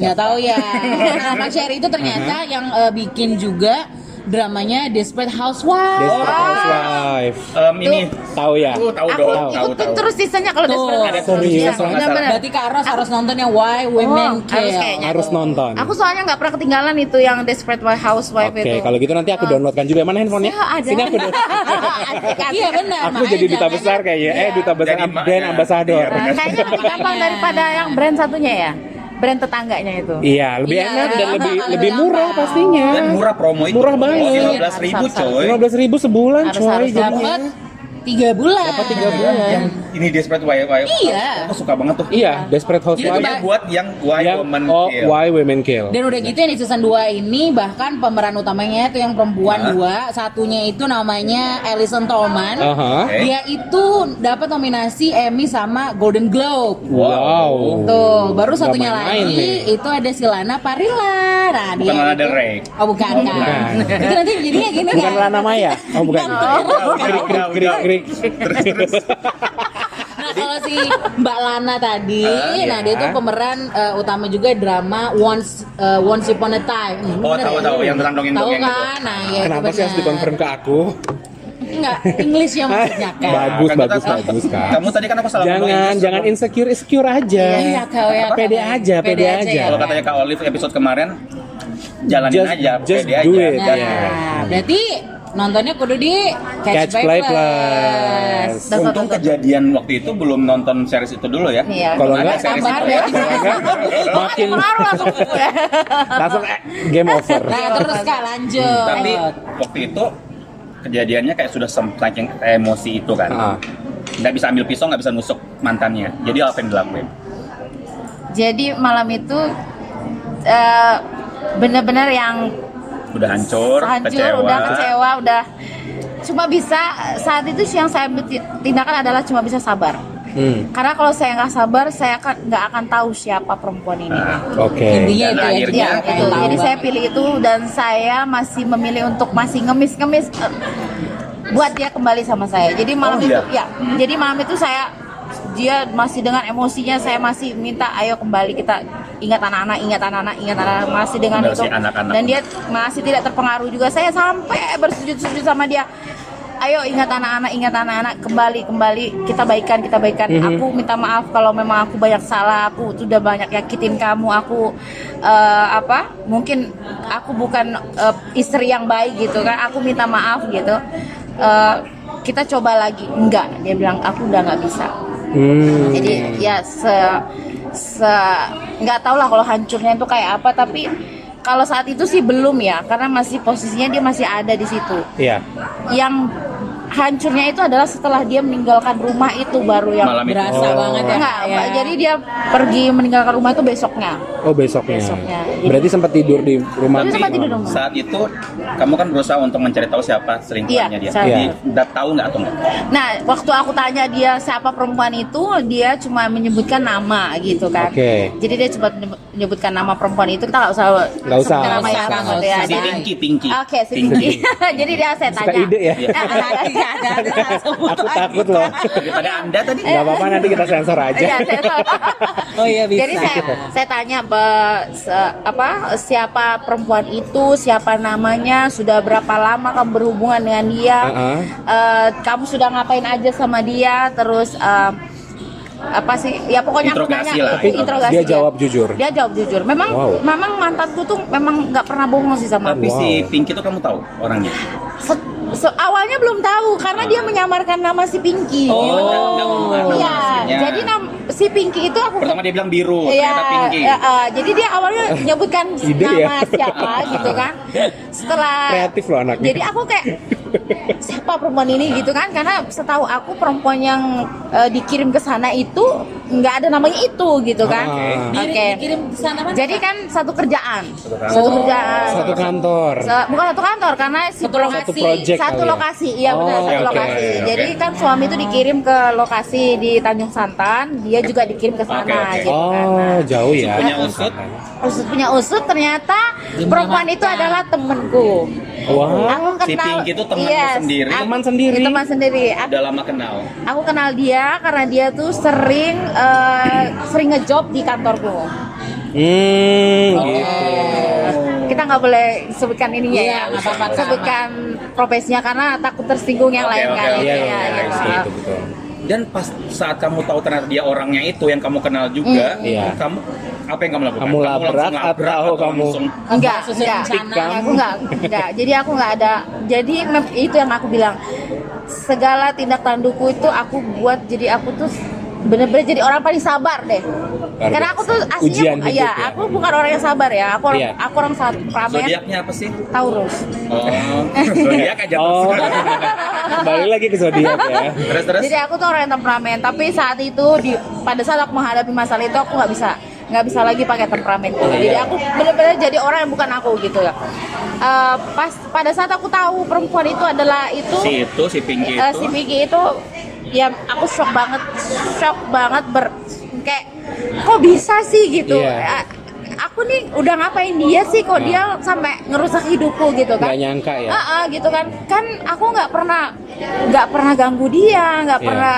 Speaker 4: Nggak tahu ya. Nah, Mark Cherry itu ternyata yang eh, bikin juga dramanya Desperate Housewives.
Speaker 2: Desperate Housewife.
Speaker 3: Em, ini
Speaker 2: Tahu ya?
Speaker 3: Tuh, tahu
Speaker 5: aku
Speaker 3: dong, tahu
Speaker 5: ikutin
Speaker 3: tahu.
Speaker 5: terus sisanya kalau
Speaker 4: Tuh.
Speaker 5: Desperate Housewives.
Speaker 2: Serius?
Speaker 5: Iya, benar-benar.
Speaker 4: Berarti Kak Ros harus nonton yang Why Women
Speaker 5: Oh,
Speaker 4: Kill.
Speaker 5: harus kayaknya.
Speaker 2: Harus nonton.
Speaker 5: Aku soalnya nggak pernah ketinggalan itu yang Desperate Housewife
Speaker 2: Oke,
Speaker 5: itu.
Speaker 2: kalau gitu nanti aku downloadkan juga mana handphonenya?
Speaker 5: Ya, ada.
Speaker 2: Sini aku download.
Speaker 5: Asik, asik.
Speaker 4: Iya benar.
Speaker 2: Aku
Speaker 4: makanya
Speaker 2: jadi
Speaker 4: jangan-
Speaker 2: duta
Speaker 4: ya. Iya.
Speaker 2: besar kayaknya. Eh, duta besar
Speaker 3: Jadi
Speaker 2: am-
Speaker 3: mak-
Speaker 2: brand
Speaker 3: ya.
Speaker 2: ambassador.
Speaker 3: Iya,
Speaker 4: kan?
Speaker 5: Nah, kayaknya lebih gampang daripada yang brand satunya ya, brand tetangganya itu.
Speaker 2: Iya, lebih
Speaker 4: Iya,
Speaker 2: enak dan
Speaker 4: gampang,
Speaker 2: lebih
Speaker 4: lebih
Speaker 2: lebih murah
Speaker 4: gampang.
Speaker 2: pastinya.
Speaker 3: Dan murah promo itu. Iya.
Speaker 2: Murah banget.
Speaker 3: ribu coy.
Speaker 2: 15 ribu sebulan
Speaker 5: Harus,
Speaker 2: coy
Speaker 5: harus
Speaker 2: jadinya.
Speaker 4: Dapat tiga bulan.
Speaker 2: Dapat tiga bulan.
Speaker 3: Yang ini Desperate Why Why.
Speaker 4: Iya.
Speaker 3: Aku suka banget tuh.
Speaker 2: Iya, Desperate
Speaker 3: Itu
Speaker 2: Housewives
Speaker 3: yang buat yang Why
Speaker 2: yang
Speaker 3: Woman
Speaker 2: oh,
Speaker 3: Kill.
Speaker 2: Why Women Kill.
Speaker 4: Dan udah gitu yang di season 2 ini bahkan pemeran utamanya itu yang perempuan
Speaker 2: Iya.
Speaker 3: Hah?
Speaker 4: dua, satunya itu namanya Alison Tolman.
Speaker 2: Aha.
Speaker 3: Oke.
Speaker 4: Dia itu dapat nominasi Emmy sama Golden Globe.
Speaker 2: Wow.
Speaker 4: Tuh, baru satunya
Speaker 2: Nggak main-main
Speaker 4: lagi
Speaker 2: nih.
Speaker 4: itu ada Silana Parilla. Nah,
Speaker 3: Bukan Lana
Speaker 4: itu-
Speaker 3: Del Rey.
Speaker 4: Oh, bukan.
Speaker 2: Oh, bukan.
Speaker 4: kan. itu nanti jadinya gini
Speaker 2: Bukan
Speaker 4: kan.
Speaker 2: Lana Maya. Oh, bukan.
Speaker 4: Iya,
Speaker 3: Udah, udah, udah,
Speaker 2: Krik krik krik
Speaker 3: udah.
Speaker 2: krik.
Speaker 3: Terus terus.
Speaker 4: Nah, kalau si Mbak Lana tadi,
Speaker 3: Ah,
Speaker 4: nah dia
Speaker 3: ya.
Speaker 4: tuh pemeran eh, utama juga drama Once eh, Once Upon a Time. Hmm,
Speaker 3: Oh,
Speaker 4: bener
Speaker 3: tahu,
Speaker 4: ya?
Speaker 3: tahu, yang tentang
Speaker 4: Tahu
Speaker 3: dongeng-dongeng gitu. itu.
Speaker 4: kan? Nah, ya,
Speaker 2: Kenapa sih harus dikonfirm ke aku?
Speaker 4: Enggak, English yang maksudnya kan.
Speaker 2: Bagus,
Speaker 3: Kan kita
Speaker 2: bagus,
Speaker 3: tahu.
Speaker 2: bagus, Kak.
Speaker 3: Kamu tadi kan aku salah ngomong
Speaker 2: Jangan,
Speaker 3: Inggris.
Speaker 2: jangan insecure, insecure aja.
Speaker 4: Iya, kau ya.
Speaker 2: Pede
Speaker 4: kau.
Speaker 2: aja, pede aja.
Speaker 4: ya,
Speaker 3: Kalau
Speaker 4: Kak.
Speaker 3: katanya Kak Olive episode kemarin jalanin
Speaker 2: Just-
Speaker 3: aja,
Speaker 2: just
Speaker 3: pede
Speaker 2: do
Speaker 3: aja.
Speaker 2: it,
Speaker 4: Nah,
Speaker 3: Jangan-
Speaker 2: ya.
Speaker 4: berarti nontonnya kudu di Catch,
Speaker 2: Catch Play
Speaker 4: Plus.
Speaker 2: Plus.
Speaker 5: Dasar
Speaker 3: Untung
Speaker 5: dasar.
Speaker 3: kejadian waktu itu belum nonton series itu dulu ya.
Speaker 5: Iya.
Speaker 2: Kalau
Speaker 3: Belum ada
Speaker 2: enggak,
Speaker 3: series
Speaker 4: Tambahan
Speaker 3: itu
Speaker 4: ya.
Speaker 3: ya.
Speaker 2: makin
Speaker 5: Pengaruh langsung ke gue.
Speaker 2: langsung eh, game over.
Speaker 4: Nah, terus Kak lanjut.
Speaker 3: Tapi
Speaker 5: Eh.
Speaker 3: waktu itu kejadiannya kayak sudah saking emosi itu
Speaker 2: Ah.
Speaker 3: kan. Nggak bisa ambil pisau, nggak bisa nusuk mantannya. Jadi apa yang dilakuin?
Speaker 5: Jadi malam itu eh, bener-bener yang
Speaker 3: Udah hancur,
Speaker 5: hancur,
Speaker 3: kecewa.
Speaker 5: udah kecewa, udah cuma bisa saat itu yang saya ambil ti- tindakan adalah cuma bisa sabar.
Speaker 2: Hmm,
Speaker 5: Karena kalau saya nggak sabar, saya akan nggak akan tahu siapa perempuan ini.
Speaker 3: Nah,
Speaker 2: oke.
Speaker 4: Intinya
Speaker 3: Dan
Speaker 4: itu ya.
Speaker 3: akhirnya
Speaker 4: Iya,
Speaker 5: Ya,
Speaker 4: kayak
Speaker 5: itu.
Speaker 4: tahu
Speaker 5: Jadi saya
Speaker 4: banget.
Speaker 5: pilih itu dan saya masih memilih untuk masih ngemis-ngemis eh, buat dia kembali sama saya. Jadi malam
Speaker 3: Oh,
Speaker 5: itu
Speaker 3: iya?
Speaker 5: ya. Jadi malam itu saya dia masih dengan emosinya saya masih minta ayo kembali kita ingat anak-anak, ingat anak-anak, ingat anak-anak masih dengan
Speaker 3: Benar
Speaker 5: itu.
Speaker 3: sih, anak-anak.
Speaker 5: Dan dia masih tidak terpengaruh juga. Saya sampai bersujud-sujud sama dia. Ayo ingat anak-anak, ingat anak-anak, kembali, kembali, kita baikan, kita baikan. Aku minta maaf kalau memang aku banyak salah, aku sudah banyak yakitin kamu, aku eh, apa? Mungkin aku bukan eh, istri yang baik gitu kan? Aku minta maaf gitu. Eh, kita coba lagi, enggak? Dia bilang aku udah nggak bisa.
Speaker 2: Hmm.
Speaker 5: Jadi ya se se nggak tahu lah kalau hancurnya itu kayak apa, tapi kalau saat itu sih belum ya, karena masih posisinya dia masih ada di situ
Speaker 2: Iya.
Speaker 5: yang hancurnya itu adalah setelah dia meninggalkan rumah itu baru yang
Speaker 3: Malam itu.
Speaker 4: Berasa banget ya.
Speaker 5: Oh. Enggak,
Speaker 4: ya.
Speaker 1: Iya.
Speaker 5: Pak. jadi dia pergi meninggalkan rumah itu besoknya.
Speaker 2: Oh, besoknya.
Speaker 5: Besoknya.
Speaker 2: Berarti sempat tidur di rumah.
Speaker 5: Tapi sempat tidur dong.
Speaker 3: Saat itu kamu kan berusaha untuk mencari tahu siapa selingkuhannya
Speaker 5: Iya,
Speaker 3: dia.
Speaker 5: saya-
Speaker 3: Jadi udah tahu nggak atau nggak?
Speaker 5: Nah, waktu aku tanya dia siapa perempuan itu, dia cuma menyebutkan nama gitu kan.
Speaker 2: Oke.
Speaker 5: Jadi dia cuma menyebutkan nama perempuan itu, kita nggak usah
Speaker 2: Nggak usah.
Speaker 5: sebutkan nama
Speaker 4: Nggak
Speaker 5: yang
Speaker 4: usah,
Speaker 5: banget
Speaker 4: nggak
Speaker 5: ya.
Speaker 4: usah.
Speaker 3: Si
Speaker 4: Ada.
Speaker 5: Jadi-
Speaker 3: Pinky, Pinky.
Speaker 5: Oke, si Pinky. Jadi dia saya
Speaker 2: Suka
Speaker 5: tanya.
Speaker 2: ide ya?
Speaker 3: Iya.
Speaker 5: Ah, ah, ah, iya, ada, ada, langsung.
Speaker 2: Aku takut loh.
Speaker 3: Daripada anda tadi.
Speaker 5: Eh.
Speaker 2: Gak apa-apa nanti kita sensor aja.
Speaker 5: Iya, saya-
Speaker 4: Oh iya bisa.
Speaker 5: Jadi saya saya tanya Be- se- apa siapa perempuan itu, siapa namanya, sudah berapa lama kamu berhubungan dengan dia,
Speaker 2: Uh-uh.
Speaker 5: Eh, kamu sudah ngapain aja sama dia, terus eh, apa sih? Ya pokoknya aku
Speaker 3: Interogasi
Speaker 5: nanya,
Speaker 3: lah.
Speaker 5: eh, interogasi
Speaker 2: ya. Dia jawab jujur.
Speaker 5: Dia jawab jujur. Memang
Speaker 2: Wow.
Speaker 5: memang mantanku tuh memang nggak pernah bohong sih sama
Speaker 3: Tapi
Speaker 5: aku.
Speaker 3: si
Speaker 2: Wow.
Speaker 3: Pinky itu kamu tahu orangnya.
Speaker 5: Se- se- awalnya belum tahu karena dia menyamarkan nama si Pinky.
Speaker 3: Oh, Nggak mengungkap nama
Speaker 5: Iya,
Speaker 3: aslinya.
Speaker 5: jadi nam- si Pinky itu aku
Speaker 3: Pertama dia bilang biru, ternyata Pinky.
Speaker 5: ya, eh, jadi dia awalnya menyebutkan
Speaker 2: Ide
Speaker 5: nama
Speaker 2: ya.
Speaker 5: siapa gitu kan. Setelah
Speaker 2: Kreatif loh anaknya.
Speaker 5: Jadi aku kayak siapa perempuan ini gitu kan karena setahu aku perempuan yang eh, dikirim ke sana itu nggak ada namanya itu gitu kan.
Speaker 2: Ah.
Speaker 5: Oke.
Speaker 4: Kirim ke sana mana?
Speaker 5: Jadi kan satu kerjaan.
Speaker 3: Satu kantor.
Speaker 5: Satu kerjaan.
Speaker 2: Satu kantor.
Speaker 5: Se- bukan satu kantor karena si
Speaker 4: Satu
Speaker 5: perempuan-
Speaker 4: lokasi.
Speaker 2: project
Speaker 5: satu
Speaker 2: kali ya?
Speaker 5: lokasi iya
Speaker 2: Oh,
Speaker 5: benar
Speaker 2: oke,
Speaker 5: satu
Speaker 2: oke,
Speaker 5: lokasi
Speaker 3: oke.
Speaker 5: jadi kan suami itu dikirim ke lokasi di Tanjung Santan dia juga dikirim ke sana
Speaker 3: Oke, oke.
Speaker 5: gitu kan
Speaker 2: Oh,
Speaker 5: Nah,
Speaker 2: jauh ya.
Speaker 3: Punya usut.
Speaker 5: usut punya usut ternyata
Speaker 4: Dia
Speaker 5: perempuan
Speaker 4: menyelamatkan.
Speaker 5: itu adalah temenku
Speaker 2: Wah.
Speaker 5: aku
Speaker 3: si
Speaker 5: kenal
Speaker 3: Pinky itu temanmu
Speaker 5: yes,
Speaker 3: sendiri?
Speaker 5: aku- Iya,
Speaker 2: Teman sendiri?
Speaker 5: teman sendiri aku,
Speaker 3: Udah lama kenal.
Speaker 5: aku kenal dia karena dia tuh sering eh, sering ngejob di kantorku
Speaker 2: Hmm, gitu.
Speaker 5: kita nggak boleh sebutkan ininya
Speaker 4: Iya,
Speaker 5: ya,
Speaker 4: nggak apa-apa, sama.
Speaker 5: sebutkan profesinya karena takut tersinggung yang
Speaker 3: Oke,
Speaker 5: lain
Speaker 3: oke,
Speaker 5: kan
Speaker 3: oke,
Speaker 2: Iya, iya,
Speaker 5: Iya,
Speaker 2: iya,
Speaker 5: gitu.
Speaker 2: betul, betul, betul.
Speaker 3: Dan pas saat kamu tahu ternyata dia orangnya itu yang kamu kenal juga,
Speaker 5: Mm.
Speaker 2: Iya.
Speaker 3: kamu apa yang kamu lakukan?
Speaker 2: Kamu
Speaker 3: langsung
Speaker 2: labrak atau kamu-
Speaker 3: langsung
Speaker 5: enggak
Speaker 4: Apa, susun
Speaker 5: enggak
Speaker 4: rencana?
Speaker 5: enggak, aku enggak enggak jadi aku enggak ada jadi mem- itu yang aku bilang segala tindak tanduku itu aku buat jadi aku tuh bener-bener jadi orang paling sabar deh karena aku tuh
Speaker 2: biasa.
Speaker 5: aslinya
Speaker 2: Ujian
Speaker 5: bu-
Speaker 2: hidup
Speaker 5: ya,
Speaker 2: ya.
Speaker 5: aku bukan orang yang sabar ya aku orang
Speaker 2: Iya.
Speaker 5: aku orang sabar ramen
Speaker 3: zodiaknya apa sih?
Speaker 5: Taurus
Speaker 3: Oh, zodiak aja.
Speaker 2: Oh. Kembali lagi ke zodiak ya.
Speaker 3: Terus terus.
Speaker 5: Jadi aku tuh orang yang temperamen, tapi saat itu di pada saat aku menghadapi masalah itu aku nggak bisa nggak bisa lagi pakai temperamen.
Speaker 3: Oh, iya.
Speaker 5: Jadi aku benar-benar jadi orang yang bukan aku gitu ya. Eh, pas pada saat aku tahu perempuan itu adalah itu
Speaker 3: si itu si Pinky
Speaker 5: eh,
Speaker 3: itu.
Speaker 5: si Vicky itu ya aku shock banget, shock banget ber kayak kok bisa sih gitu.
Speaker 2: Iya.
Speaker 5: Eh, Aku nih udah ngapain dia sih kok
Speaker 3: Iya.
Speaker 5: dia sampai ngerusak hidupku gitu kan?
Speaker 2: Gak nyangka ya.
Speaker 5: Ah, ah, gitu kan kan aku nggak pernah nggak pernah ganggu dia nggak
Speaker 2: Iya.
Speaker 5: pernah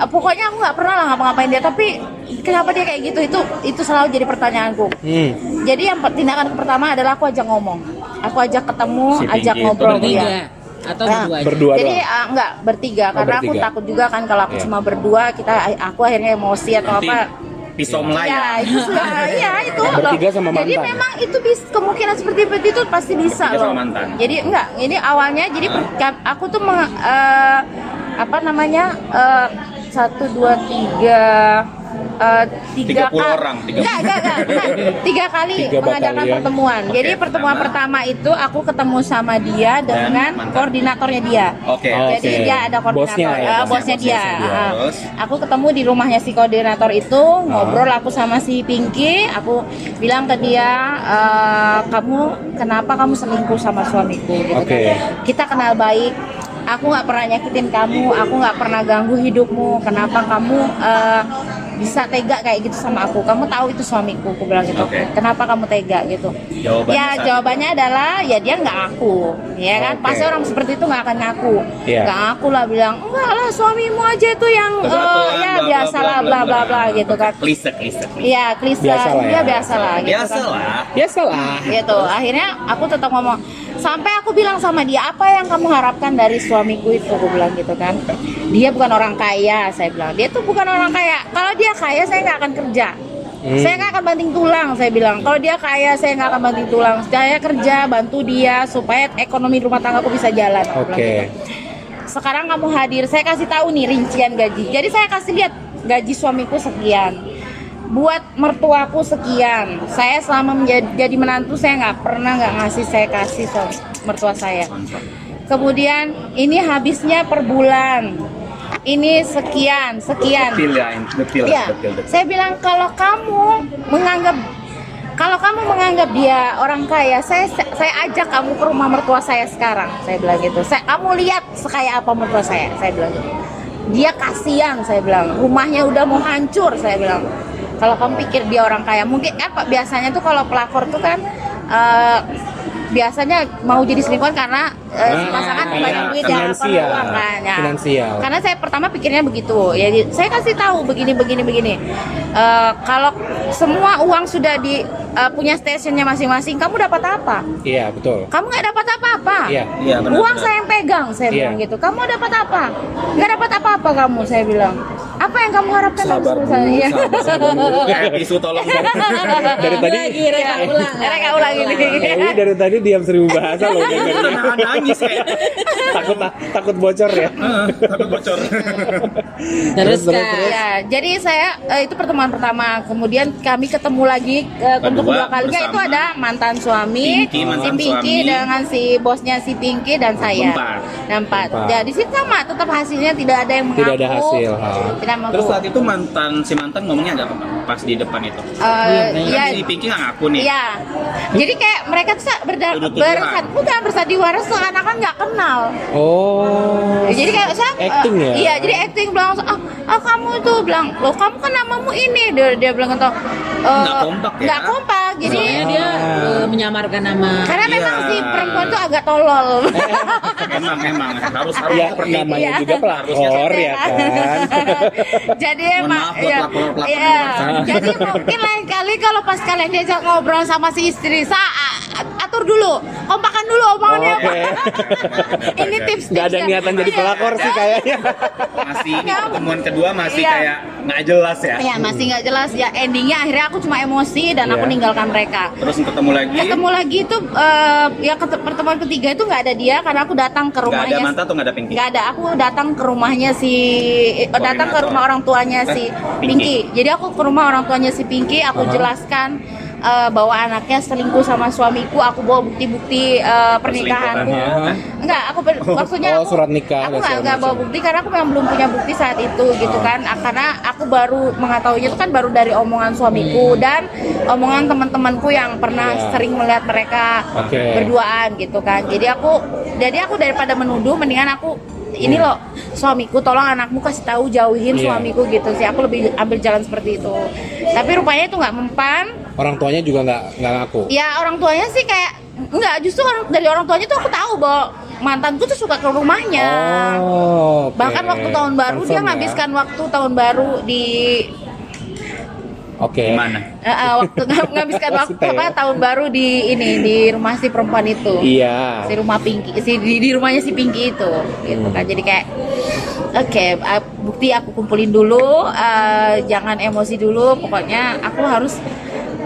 Speaker 5: eh, pokoknya aku nggak pernah lah ngapa-ngapain dia tapi kenapa dia kayak gitu itu itu selalu jadi pertanyaanku
Speaker 2: Hmm.
Speaker 5: jadi yang per- tindakan pertama adalah aku ajak ngomong aku ajak ketemu
Speaker 3: Si Pinky
Speaker 5: ajak
Speaker 3: itu
Speaker 5: ngobrol
Speaker 3: bertiga.
Speaker 5: dia
Speaker 4: Tiga atau
Speaker 5: Ah,
Speaker 4: berdua aja.
Speaker 2: Berdua
Speaker 5: jadi
Speaker 2: doang.
Speaker 5: ah, enggak bertiga
Speaker 2: Oh,
Speaker 5: karena aku
Speaker 2: bertiga.
Speaker 5: takut juga kan kalau aku
Speaker 2: Iya.
Speaker 5: cuma berdua kita aku akhirnya emosi atau
Speaker 3: Nanti
Speaker 5: apa
Speaker 3: pisau
Speaker 5: Ya,
Speaker 3: melayang.
Speaker 5: itu sudah, ya itu
Speaker 2: Yang
Speaker 5: loh.
Speaker 2: bertiga sama
Speaker 5: Jadi
Speaker 2: mantan.
Speaker 5: memang itu bis kemungkinan seperti itu tuh pasti bisa
Speaker 3: Bertiga
Speaker 5: loh.
Speaker 3: sama mantan.
Speaker 5: Jadi enggak, ini awalnya jadi per- ka- aku tuh meng- eh, apa namanya eh, satu dua tiga eh, tiga
Speaker 3: 30
Speaker 5: ka-
Speaker 3: orang, 30.
Speaker 5: Enggak, enggak, enggak, enggak. tiga kali
Speaker 2: Tiga
Speaker 5: mengadakan
Speaker 2: batalion.
Speaker 5: pertemuan.
Speaker 3: Oke,
Speaker 5: jadi pertemuan pertama.
Speaker 3: pertama.
Speaker 5: itu aku ketemu sama dia dengan
Speaker 3: mantan.
Speaker 5: koordinatornya dia.
Speaker 3: Oke.
Speaker 2: Oh.
Speaker 5: Jadi
Speaker 2: Oke.
Speaker 5: dia ada koordinator,
Speaker 2: Bosnya ya,
Speaker 5: eh,
Speaker 2: bosnya,
Speaker 5: bosnya, dia.
Speaker 2: bosnya
Speaker 3: dia.
Speaker 5: Ah.
Speaker 3: Terus? Ah.
Speaker 5: Aku ketemu di rumahnya si koordinator itu, ngobrol aku sama si Pinky, aku bilang ke dia, "Eh, kamu kenapa kamu selingkuh sama suamiku? Gitu
Speaker 2: Oke.
Speaker 5: kan. Kita kenal baik. Aku nggak pernah nyakitin kamu, aku nggak pernah ganggu hidupmu. Kenapa kamu eh, bisa tega kayak gitu sama aku? Kamu tahu itu suamiku, aku bilang gitu.
Speaker 3: Oke.
Speaker 5: Kenapa kamu tega gitu?
Speaker 3: Jawabannya
Speaker 5: ya
Speaker 3: saat-
Speaker 5: jawabannya adalah ya dia nggak aku, ya kan?
Speaker 2: Oke.
Speaker 5: Pasti orang seperti itu nggak akan ngaku
Speaker 2: Iya.
Speaker 5: nggak aku lah bilang enggak lah suamimu aja itu yang eh,
Speaker 3: Kegatelan,
Speaker 5: ya
Speaker 3: bla, bla,
Speaker 5: biasa
Speaker 3: bla,
Speaker 5: lah bla bla bla gitu kan
Speaker 3: Klise, klise. klise.
Speaker 5: Iya klise
Speaker 2: Biasa lah
Speaker 5: ya
Speaker 2: ya.
Speaker 5: biasa lah gitu
Speaker 3: Biasa
Speaker 5: kan
Speaker 3: lah.
Speaker 2: Biasalah.
Speaker 5: gitu akhirnya aku tetap ngomong sampai aku bilang sama dia apa yang kamu harapkan dari suamiku itu aku bilang gitu kan dia bukan orang kaya saya bilang dia tuh bukan orang kaya kalau dia kaya saya nggak akan kerja saya nggak akan banting tulang saya bilang kalau dia kaya saya nggak akan banting tulang saya kerja bantu dia supaya ekonomi rumah tangga aku bisa jalan aku bilang gitu
Speaker 2: Oke.
Speaker 5: sekarang kamu hadir saya kasih tahu nih rincian gaji jadi saya kasih lihat gaji suamiku sekian buat mertuaku sekian saya selama menjadi jadi menantu saya nggak pernah nggak ngasih saya kasih suami- mertua saya kemudian ini habisnya per bulan ini sekian sekian
Speaker 3: Detil ya, detil,
Speaker 5: Iya.
Speaker 3: detil, detil.
Speaker 5: Saya bilang kalau kamu menganggap kalau kamu menganggap dia orang kaya, saya saya ajak kamu ke rumah mertua saya sekarang. Saya bilang gitu. Saya kamu lihat sekaya apa mertua saya. Saya bilang gitu. Dia kasihan, saya bilang. Rumahnya udah mau hancur, saya bilang. Kalau kamu pikir dia orang kaya, mungkin apa biasanya tuh kalau pelakor tuh kan eh, biasanya mau jadi selingkuhan karena eh, si
Speaker 2: Ah,
Speaker 5: pasangan
Speaker 2: iya.
Speaker 5: banyak duit ya, apa
Speaker 2: Finansial.
Speaker 5: uang kan, ya.
Speaker 2: Finansial.
Speaker 5: Karena karena saya pertama pikirnya begitu ya di- saya kasih tahu begini begini begini Eh, kalau semua uang sudah di eh, punya stasiunnya masing-masing kamu dapat apa
Speaker 2: Iya, betul.
Speaker 5: kamu nggak dapat apa-apa
Speaker 2: Iya.
Speaker 3: Iya, benar.
Speaker 5: uang
Speaker 3: benar.
Speaker 5: saya yang pegang saya
Speaker 2: Iya.
Speaker 5: bilang gitu kamu dapat apa nggak dapat apa-apa kamu saya bilang apa yang kamu harapkan dari
Speaker 3: Sabar, Bu.
Speaker 5: suami saya? Iya.
Speaker 3: Sabar, Bu. Eh, tisu tolong.
Speaker 2: Dari tadi
Speaker 4: Lagi reka ulang.
Speaker 5: Mereka Iya. ulang ini
Speaker 2: Dewi Ya, dari tadi diam seribu bahasa loh. dengernya.
Speaker 3: Nahan nangis kayak.
Speaker 2: takut takut bocor ya.
Speaker 3: Eh, Takut bocor.
Speaker 4: Terus
Speaker 2: Terus,
Speaker 4: Kak.
Speaker 2: terus,
Speaker 5: Ya, jadi saya eh, itu pertemuan pertama. Kemudian kami ketemu lagi eh,
Speaker 3: Kedua,
Speaker 5: untuk kedua kalinya
Speaker 3: bersama
Speaker 5: itu ada mantan suami,
Speaker 3: Pinky,
Speaker 5: si
Speaker 3: mantan
Speaker 5: Pinky
Speaker 3: suami.
Speaker 5: dengan si bosnya si Pinky dan saya.
Speaker 3: Empat.
Speaker 5: Nah, empat.
Speaker 2: Empat.
Speaker 5: Ya, di situ sama, tetap hasilnya tidak ada yang mengaku.
Speaker 2: Tidak ada hasil, ha.
Speaker 5: Tidak mengaku.
Speaker 3: Terus saat itu mantan si mantan ngomongnya ada apa Pak? pas di depan itu?
Speaker 5: Eh,
Speaker 3: Iya.
Speaker 5: ya,
Speaker 3: Si Pinky nggak ngaku nih.
Speaker 5: Iya. Jadi kayak mereka tuh berda-
Speaker 3: Tuduh-tuduhan.
Speaker 5: bersat, bukan bersandiwara seakan-akan kan nggak kenal.
Speaker 2: Oh.
Speaker 5: Ya, jadi kayak saya
Speaker 2: Acting
Speaker 5: eh,
Speaker 2: ya?
Speaker 5: iya jadi acting bilang ah, ah, kamu itu bilang loh kamu kan namamu ini dia, dia bilang gitu eh,
Speaker 3: Nggak kompak ya?
Speaker 5: nggak kompak jadi
Speaker 4: Soalnya dia
Speaker 2: Ah.
Speaker 4: eh, menyamarkan nama.
Speaker 5: karena
Speaker 3: Iya.
Speaker 5: memang si perempuan tuh agak tolol
Speaker 3: Emang emang harus harus
Speaker 2: Ya,
Speaker 3: seperti itu.
Speaker 2: namanya
Speaker 5: Iya.
Speaker 2: juga pelakor ya kan.
Speaker 5: jadi
Speaker 3: Mohon
Speaker 5: emang
Speaker 3: maaf buat
Speaker 5: iya.
Speaker 3: pelakor-pelakor di
Speaker 5: Iya.
Speaker 3: luar sana.
Speaker 5: jadi mungkin lain kali kalau pas kalian diajak ngobrol sama si istri saya atur dulu kompakan dulu omongannya
Speaker 2: Oke.
Speaker 5: ini Iya. tips
Speaker 2: Gak ada niatan jadi pelakor sih kayaknya.
Speaker 3: Masih ini pertemuan kedua masih
Speaker 5: Iya.
Speaker 3: kayak nggak jelas ya.
Speaker 5: ya masih nggak jelas ya endingnya akhirnya aku cuma emosi dan
Speaker 3: Ya.
Speaker 5: aku
Speaker 2: Iya.
Speaker 5: ninggalkan mereka
Speaker 3: Terus ketemu lagi.
Speaker 5: ketemu lagi itu eh, ya ket- pertemuan ketiga itu nggak ada dia karena aku datang ke
Speaker 3: Nggak ada
Speaker 5: rumahnya
Speaker 3: mantan atau nggak ada Pinky?
Speaker 5: nggak ada aku datang ke rumahnya si eh, datang ke
Speaker 3: Koordinator.
Speaker 5: rumah orang tuanya si
Speaker 3: Eh,
Speaker 5: Pinky. jadi aku ke rumah orang tuanya si Pinky aku jelaskan eh, bahwa anaknya selingkuh sama suamiku aku bawa bukti-bukti eh, pernikahanku
Speaker 2: Perselingkuhan,
Speaker 5: enggak aku ber- maksudnya
Speaker 2: Oh,
Speaker 5: aku,
Speaker 2: surat nikah dan
Speaker 5: aku nggak
Speaker 2: segala
Speaker 5: nggak bawa
Speaker 2: macam.
Speaker 5: bukti karena aku memang belum punya bukti saat itu gitu kan Ah, karena aku baru mengetahuinya itu kan baru dari omongan suamiku
Speaker 3: Hmm.
Speaker 5: dan omongan teman-temanku yang pernah
Speaker 2: Iya.
Speaker 5: sering melihat mereka
Speaker 2: Oke.
Speaker 5: berduaan gitu kan jadi aku jadi aku daripada menuduh mendingan aku ini loh suamiku tolong anakmu kasih tahu jauhin
Speaker 2: Iya.
Speaker 5: suamiku gitu sih aku lebih ambil jalan seperti itu tapi rupanya itu nggak mempan
Speaker 2: Orang tuanya juga nggak nggak ngaku.
Speaker 5: ya orang tuanya sih kayak nggak justru orang- dari orang tuanya tuh aku tahu bahwa mantanku tuh suka ke rumahnya.
Speaker 2: Oh, oke.
Speaker 5: Iya. Bahkan waktu tahun baru
Speaker 2: Confirm
Speaker 5: dia
Speaker 2: ya.
Speaker 5: menghabiskan waktu tahun baru di
Speaker 2: Oke.
Speaker 3: Gimana?
Speaker 5: eh, eh, waktu menghabiskan waktu
Speaker 2: Maksudnya ya?
Speaker 5: apa tahun baru di ini di rumah si perempuan itu.
Speaker 2: Iya.
Speaker 5: Si rumah Pinky, si di, di rumahnya si Pinky itu gitu kan. Jadi kayak oke, eh, bukti aku kumpulin dulu, eh, jangan emosi dulu. Pokoknya aku harus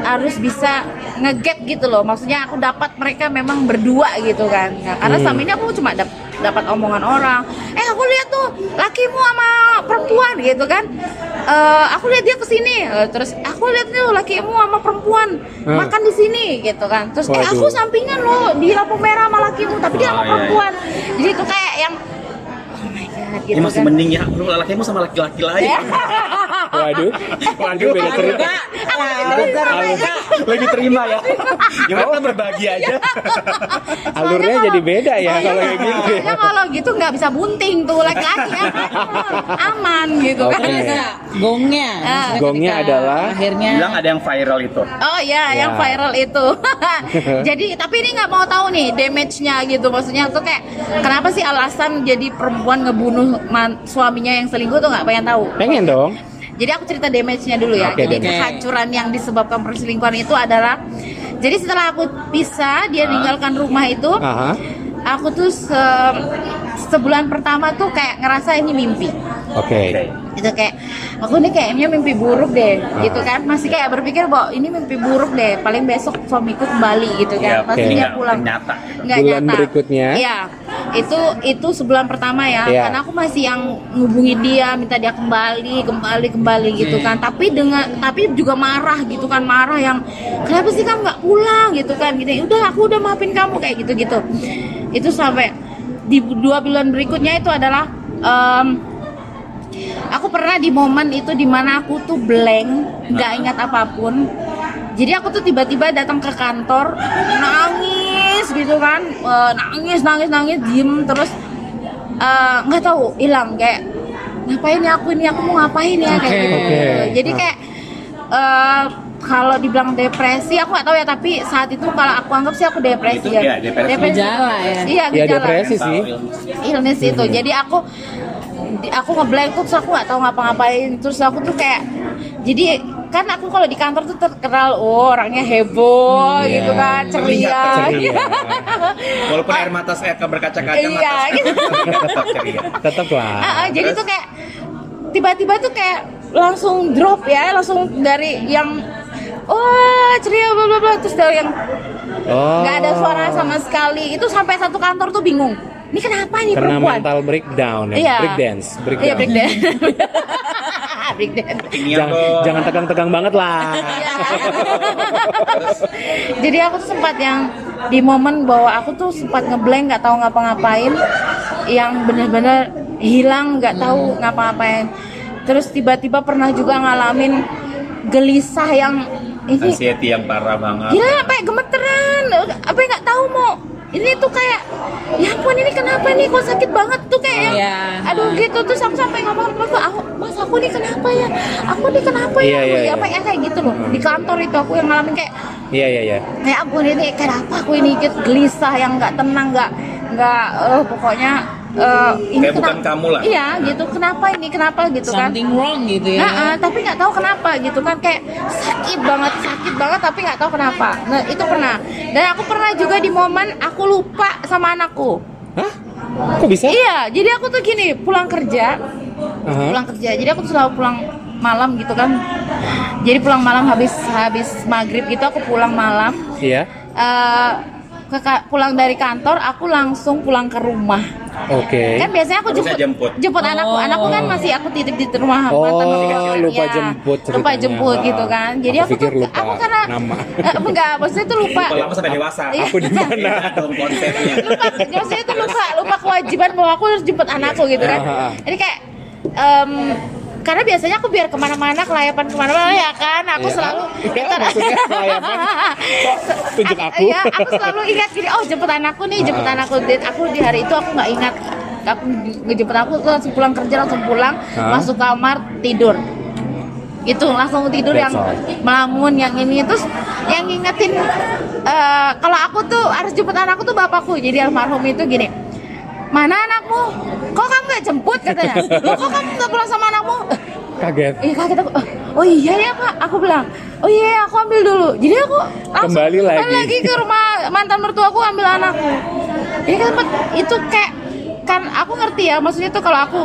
Speaker 5: harus bisa ngegap gitu loh. Maksudnya aku dapat mereka memang berdua gitu kan. Nah, karena selama ini aku cuma dap- dapat omongan orang. Eh aku lihat tuh lakimu sama perempuan gitu kan. Eh, aku lihat dia kesini, Eh, terus aku lihat tuh lakimu sama perempuan
Speaker 2: Hmm.
Speaker 5: makan di sini gitu kan. Terus eh
Speaker 2: Waduh.
Speaker 5: aku sampingan loh di lampu merah sama lakimu, tapi dia
Speaker 3: Ah,
Speaker 5: sama
Speaker 3: iya, iya.
Speaker 5: perempuan. Jadi itu kayak yang oh my god
Speaker 3: Ya,
Speaker 5: gitu
Speaker 3: masih
Speaker 5: kan. Iya.
Speaker 3: mending ya, lu lelakimu sama laki-laki lain.
Speaker 2: Waduh. Waduh beda cerita.
Speaker 3: Lebih terima ya. Gimana
Speaker 2: Oh.
Speaker 3: kita berbagi
Speaker 5: Iya.
Speaker 3: aja.
Speaker 2: Alurnya jadi beda ya
Speaker 5: Soalnya
Speaker 2: kalau kayak
Speaker 5: kalau-
Speaker 2: gitu. ya.
Speaker 5: soalnya kalau gitu nggak bisa bunting tuh laki-laki ya. aman gitu kan.
Speaker 2: Oke.
Speaker 4: Ternyata Iya. Ah, gongnya. Maksudnya
Speaker 2: Gongnya
Speaker 4: ketika
Speaker 2: adalah?
Speaker 4: akhirnya
Speaker 3: Bilang ada yang viral itu.
Speaker 5: Oh iya, yang
Speaker 2: Ya.
Speaker 5: viral itu. jadi tapi ini nggak mau tahu nih damage-nya gitu. Maksudnya tuh kayak kenapa sih alasan jadi perempuan ngebunuh man- suaminya yang selingkuh tuh nggak pengen tahu.
Speaker 2: Pengen dong.
Speaker 5: Jadi aku cerita damage-nya dulu ya.
Speaker 2: Oke,
Speaker 5: jadi
Speaker 2: damage.
Speaker 5: kehancuran yang disebabkan perselingkuhan itu adalah jadi setelah aku pisah, dia meninggalkan rumah itu,
Speaker 2: Aha.
Speaker 5: aku tuh se- sebulan pertama tuh kayak ngerasa ini mimpi.
Speaker 2: Oke.
Speaker 5: Gitu kayak aku nih kayaknya mimpi buruk deh, gitu kan. Masih kayak berpikir bahwa ini mimpi buruk deh, paling besok suamiku kembali gitu
Speaker 3: Ya,
Speaker 5: kan. Pasti
Speaker 2: oke.
Speaker 5: dia
Speaker 3: Nggak-
Speaker 5: pulang.
Speaker 3: nyata gitu.
Speaker 5: Nggak
Speaker 2: Bulan
Speaker 5: nyata.
Speaker 2: berikutnya.
Speaker 5: Iya. Itu itu sebulan pertama ya.
Speaker 2: Iya.
Speaker 5: Karena aku masih yang ngubungi dia, minta dia kembali, kembali, kembali gitu kan. Tapi dengan tapi juga marah gitu kan, marah yang kenapa sih kamu nggak pulang gitu kan. Gitu. "Ya Udah, aku udah maafin kamu kayak gitu-gitu. Itu sampai di dua bulan berikutnya itu adalah mmm, em, aku pernah di momen itu dimana aku tuh blank nggak ingat apapun jadi aku tuh tiba-tiba datang ke kantor nangis gitu kan Eh, nangis nangis nangis diem terus eh, nggak tahu hilang kayak ngapain ya aku ini aku mau ngapain ya kayak gitu
Speaker 2: Oke.
Speaker 5: jadi
Speaker 2: Ah.
Speaker 5: kayak eh, kalau dibilang depresi aku nggak tahu ya tapi saat itu kalau aku anggap sih aku depresi
Speaker 3: Itu, ya,
Speaker 5: ya
Speaker 3: depresi.
Speaker 4: Gejala ya.
Speaker 5: iya
Speaker 2: Ya
Speaker 5: gejala
Speaker 2: depresi sih.
Speaker 5: illness
Speaker 2: Hmm.
Speaker 5: itu jadi aku di- aku ngeblank tuh terus aku nggak tahu ngapa-ngapain terus aku tuh kayak jadi kan aku kalau di kantor tuh terkenal oh, orangnya heboh
Speaker 2: Hmm,
Speaker 5: gitu
Speaker 2: iya.
Speaker 5: kan ceria,
Speaker 2: Ceria.
Speaker 3: Walaupun air mata saya akan berkaca-kaca
Speaker 5: Iya, gitu.
Speaker 3: tetap ceria.
Speaker 2: Tetap
Speaker 5: Ah, ah,
Speaker 2: lah.
Speaker 5: jadi tuh kayak tiba-tiba tuh kayak langsung drop ya langsung dari yang oh ceria bla bla bla terus dari yang
Speaker 2: Oh.
Speaker 5: nggak ada suara sama sekali itu sampai satu kantor tuh bingung ini kenapa nih
Speaker 2: Karena
Speaker 5: perempuan
Speaker 2: mental breakdown ya.
Speaker 5: Iya.
Speaker 2: Breakdance, breakdown.
Speaker 5: iya break dance break dance
Speaker 3: Tinggi
Speaker 4: Iya,
Speaker 2: Jangan,
Speaker 3: apa?
Speaker 2: jangan tegang-tegang banget lah.
Speaker 5: Iya. Jadi aku tuh sempat yang di momen bahwa aku tuh sempat ngeblank nggak tahu ngapa-ngapain, yang bener-bener hilang nggak tahu ngapa-ngapain. Terus tiba-tiba pernah juga ngalamin gelisah yang ini
Speaker 3: Anxiety yang parah banget.
Speaker 5: gila apa ya, gemeteran, apa ya, nggak tahu mau ini tuh kayak ya ampun ini kenapa nih kok sakit banget tuh kayak yang,
Speaker 4: Iya.
Speaker 5: aduh gitu tuh sampai sampai ngomong sama aku, aku mas aku nih kenapa ya aku nih kenapa ya
Speaker 2: Iya,
Speaker 5: Aku
Speaker 2: iya,
Speaker 5: nih
Speaker 2: iya.
Speaker 5: apa ya kayak gitu loh di kantor itu aku yang ngalamin kayak
Speaker 2: Iya, iya, iya.
Speaker 5: kayak Ya ampun ini kenapa aku ini gitu gelisah yang nggak tenang nggak nggak eh, pokoknya eh, ini
Speaker 3: Kayak bukan kamu lah.
Speaker 5: iya gitu kenapa ini kenapa gitu kan
Speaker 4: something wrong gitu ya.
Speaker 5: Nah, eh, tapi nggak tahu kenapa gitu kan kayak sakit banget sakit banget tapi nggak tahu kenapa nah itu pernah dan aku pernah juga di momen aku lupa sama anakku
Speaker 2: Hah? Kok bisa?
Speaker 5: iya jadi aku tuh gini pulang kerja
Speaker 2: Aha.
Speaker 5: pulang kerja jadi aku selalu pulang malam gitu kan jadi pulang malam habis habis maghrib gitu aku pulang malam
Speaker 2: Iya.
Speaker 5: eh, ke ka- pulang dari kantor aku langsung pulang ke rumah
Speaker 2: Oke.
Speaker 5: kan biasanya aku
Speaker 3: Harusnya
Speaker 5: jemput
Speaker 3: jemput.
Speaker 5: jemput anakku anakku kan masih aku titip di rumah
Speaker 2: Oh,
Speaker 5: mantanku di kecil.
Speaker 2: lupa
Speaker 5: Iya,
Speaker 2: jemput
Speaker 5: lupa
Speaker 2: ceritanya.
Speaker 5: jemput gitu kan jadi
Speaker 2: Aku
Speaker 5: aku, tuh
Speaker 2: pikir lupa
Speaker 5: aku karena
Speaker 2: nama.
Speaker 5: Eh, enggak maksudnya tuh lupa
Speaker 3: Kalau lama sampai dewasa.
Speaker 5: Iya.
Speaker 2: Aku di mana?
Speaker 3: Beda dong konsepnya.
Speaker 5: lupa maksudnya tuh lupa lupa kewajiban bahwa aku harus jemput anakku gitu kan
Speaker 2: Ah.
Speaker 5: jadi kayak em, karena biasanya aku biar kemana-mana kelayapan kemana-mana ya kan aku
Speaker 2: Iya.
Speaker 5: selalu
Speaker 2: Iya, maksudnya kelayapan. Kok tunjuk
Speaker 5: Ak-
Speaker 2: aku?
Speaker 5: iya, aku selalu ingat gini, oh jemput anakku nih, jemput
Speaker 2: Ah.
Speaker 5: anakku. Dan aku di hari itu aku nggak ingat aku ngejemput aku tuh langsung pulang kerja langsung pulang
Speaker 2: Ah.
Speaker 5: masuk kamar tidur itu langsung tidur
Speaker 2: That's
Speaker 5: yang melamun yang ini terus yang ngingetin eh, kalau aku tuh harus jemput anakku tuh bapakku jadi almarhum itu gini mana anakmu? Kok kamu nggak jemput katanya? Loh, kok kamu nggak pulang sama anakmu?
Speaker 2: Kaget.
Speaker 5: Iya kaget aku. "Oh, Oh iya ya pak, aku bilang. Oh iya ya, aku ambil dulu. Jadi aku langsung
Speaker 2: Kembali lagi.
Speaker 5: ke rumah mantan mertuaku ambil anakku. Ini kan pet- itu kayak kan aku ngerti ya maksudnya tuh kalau aku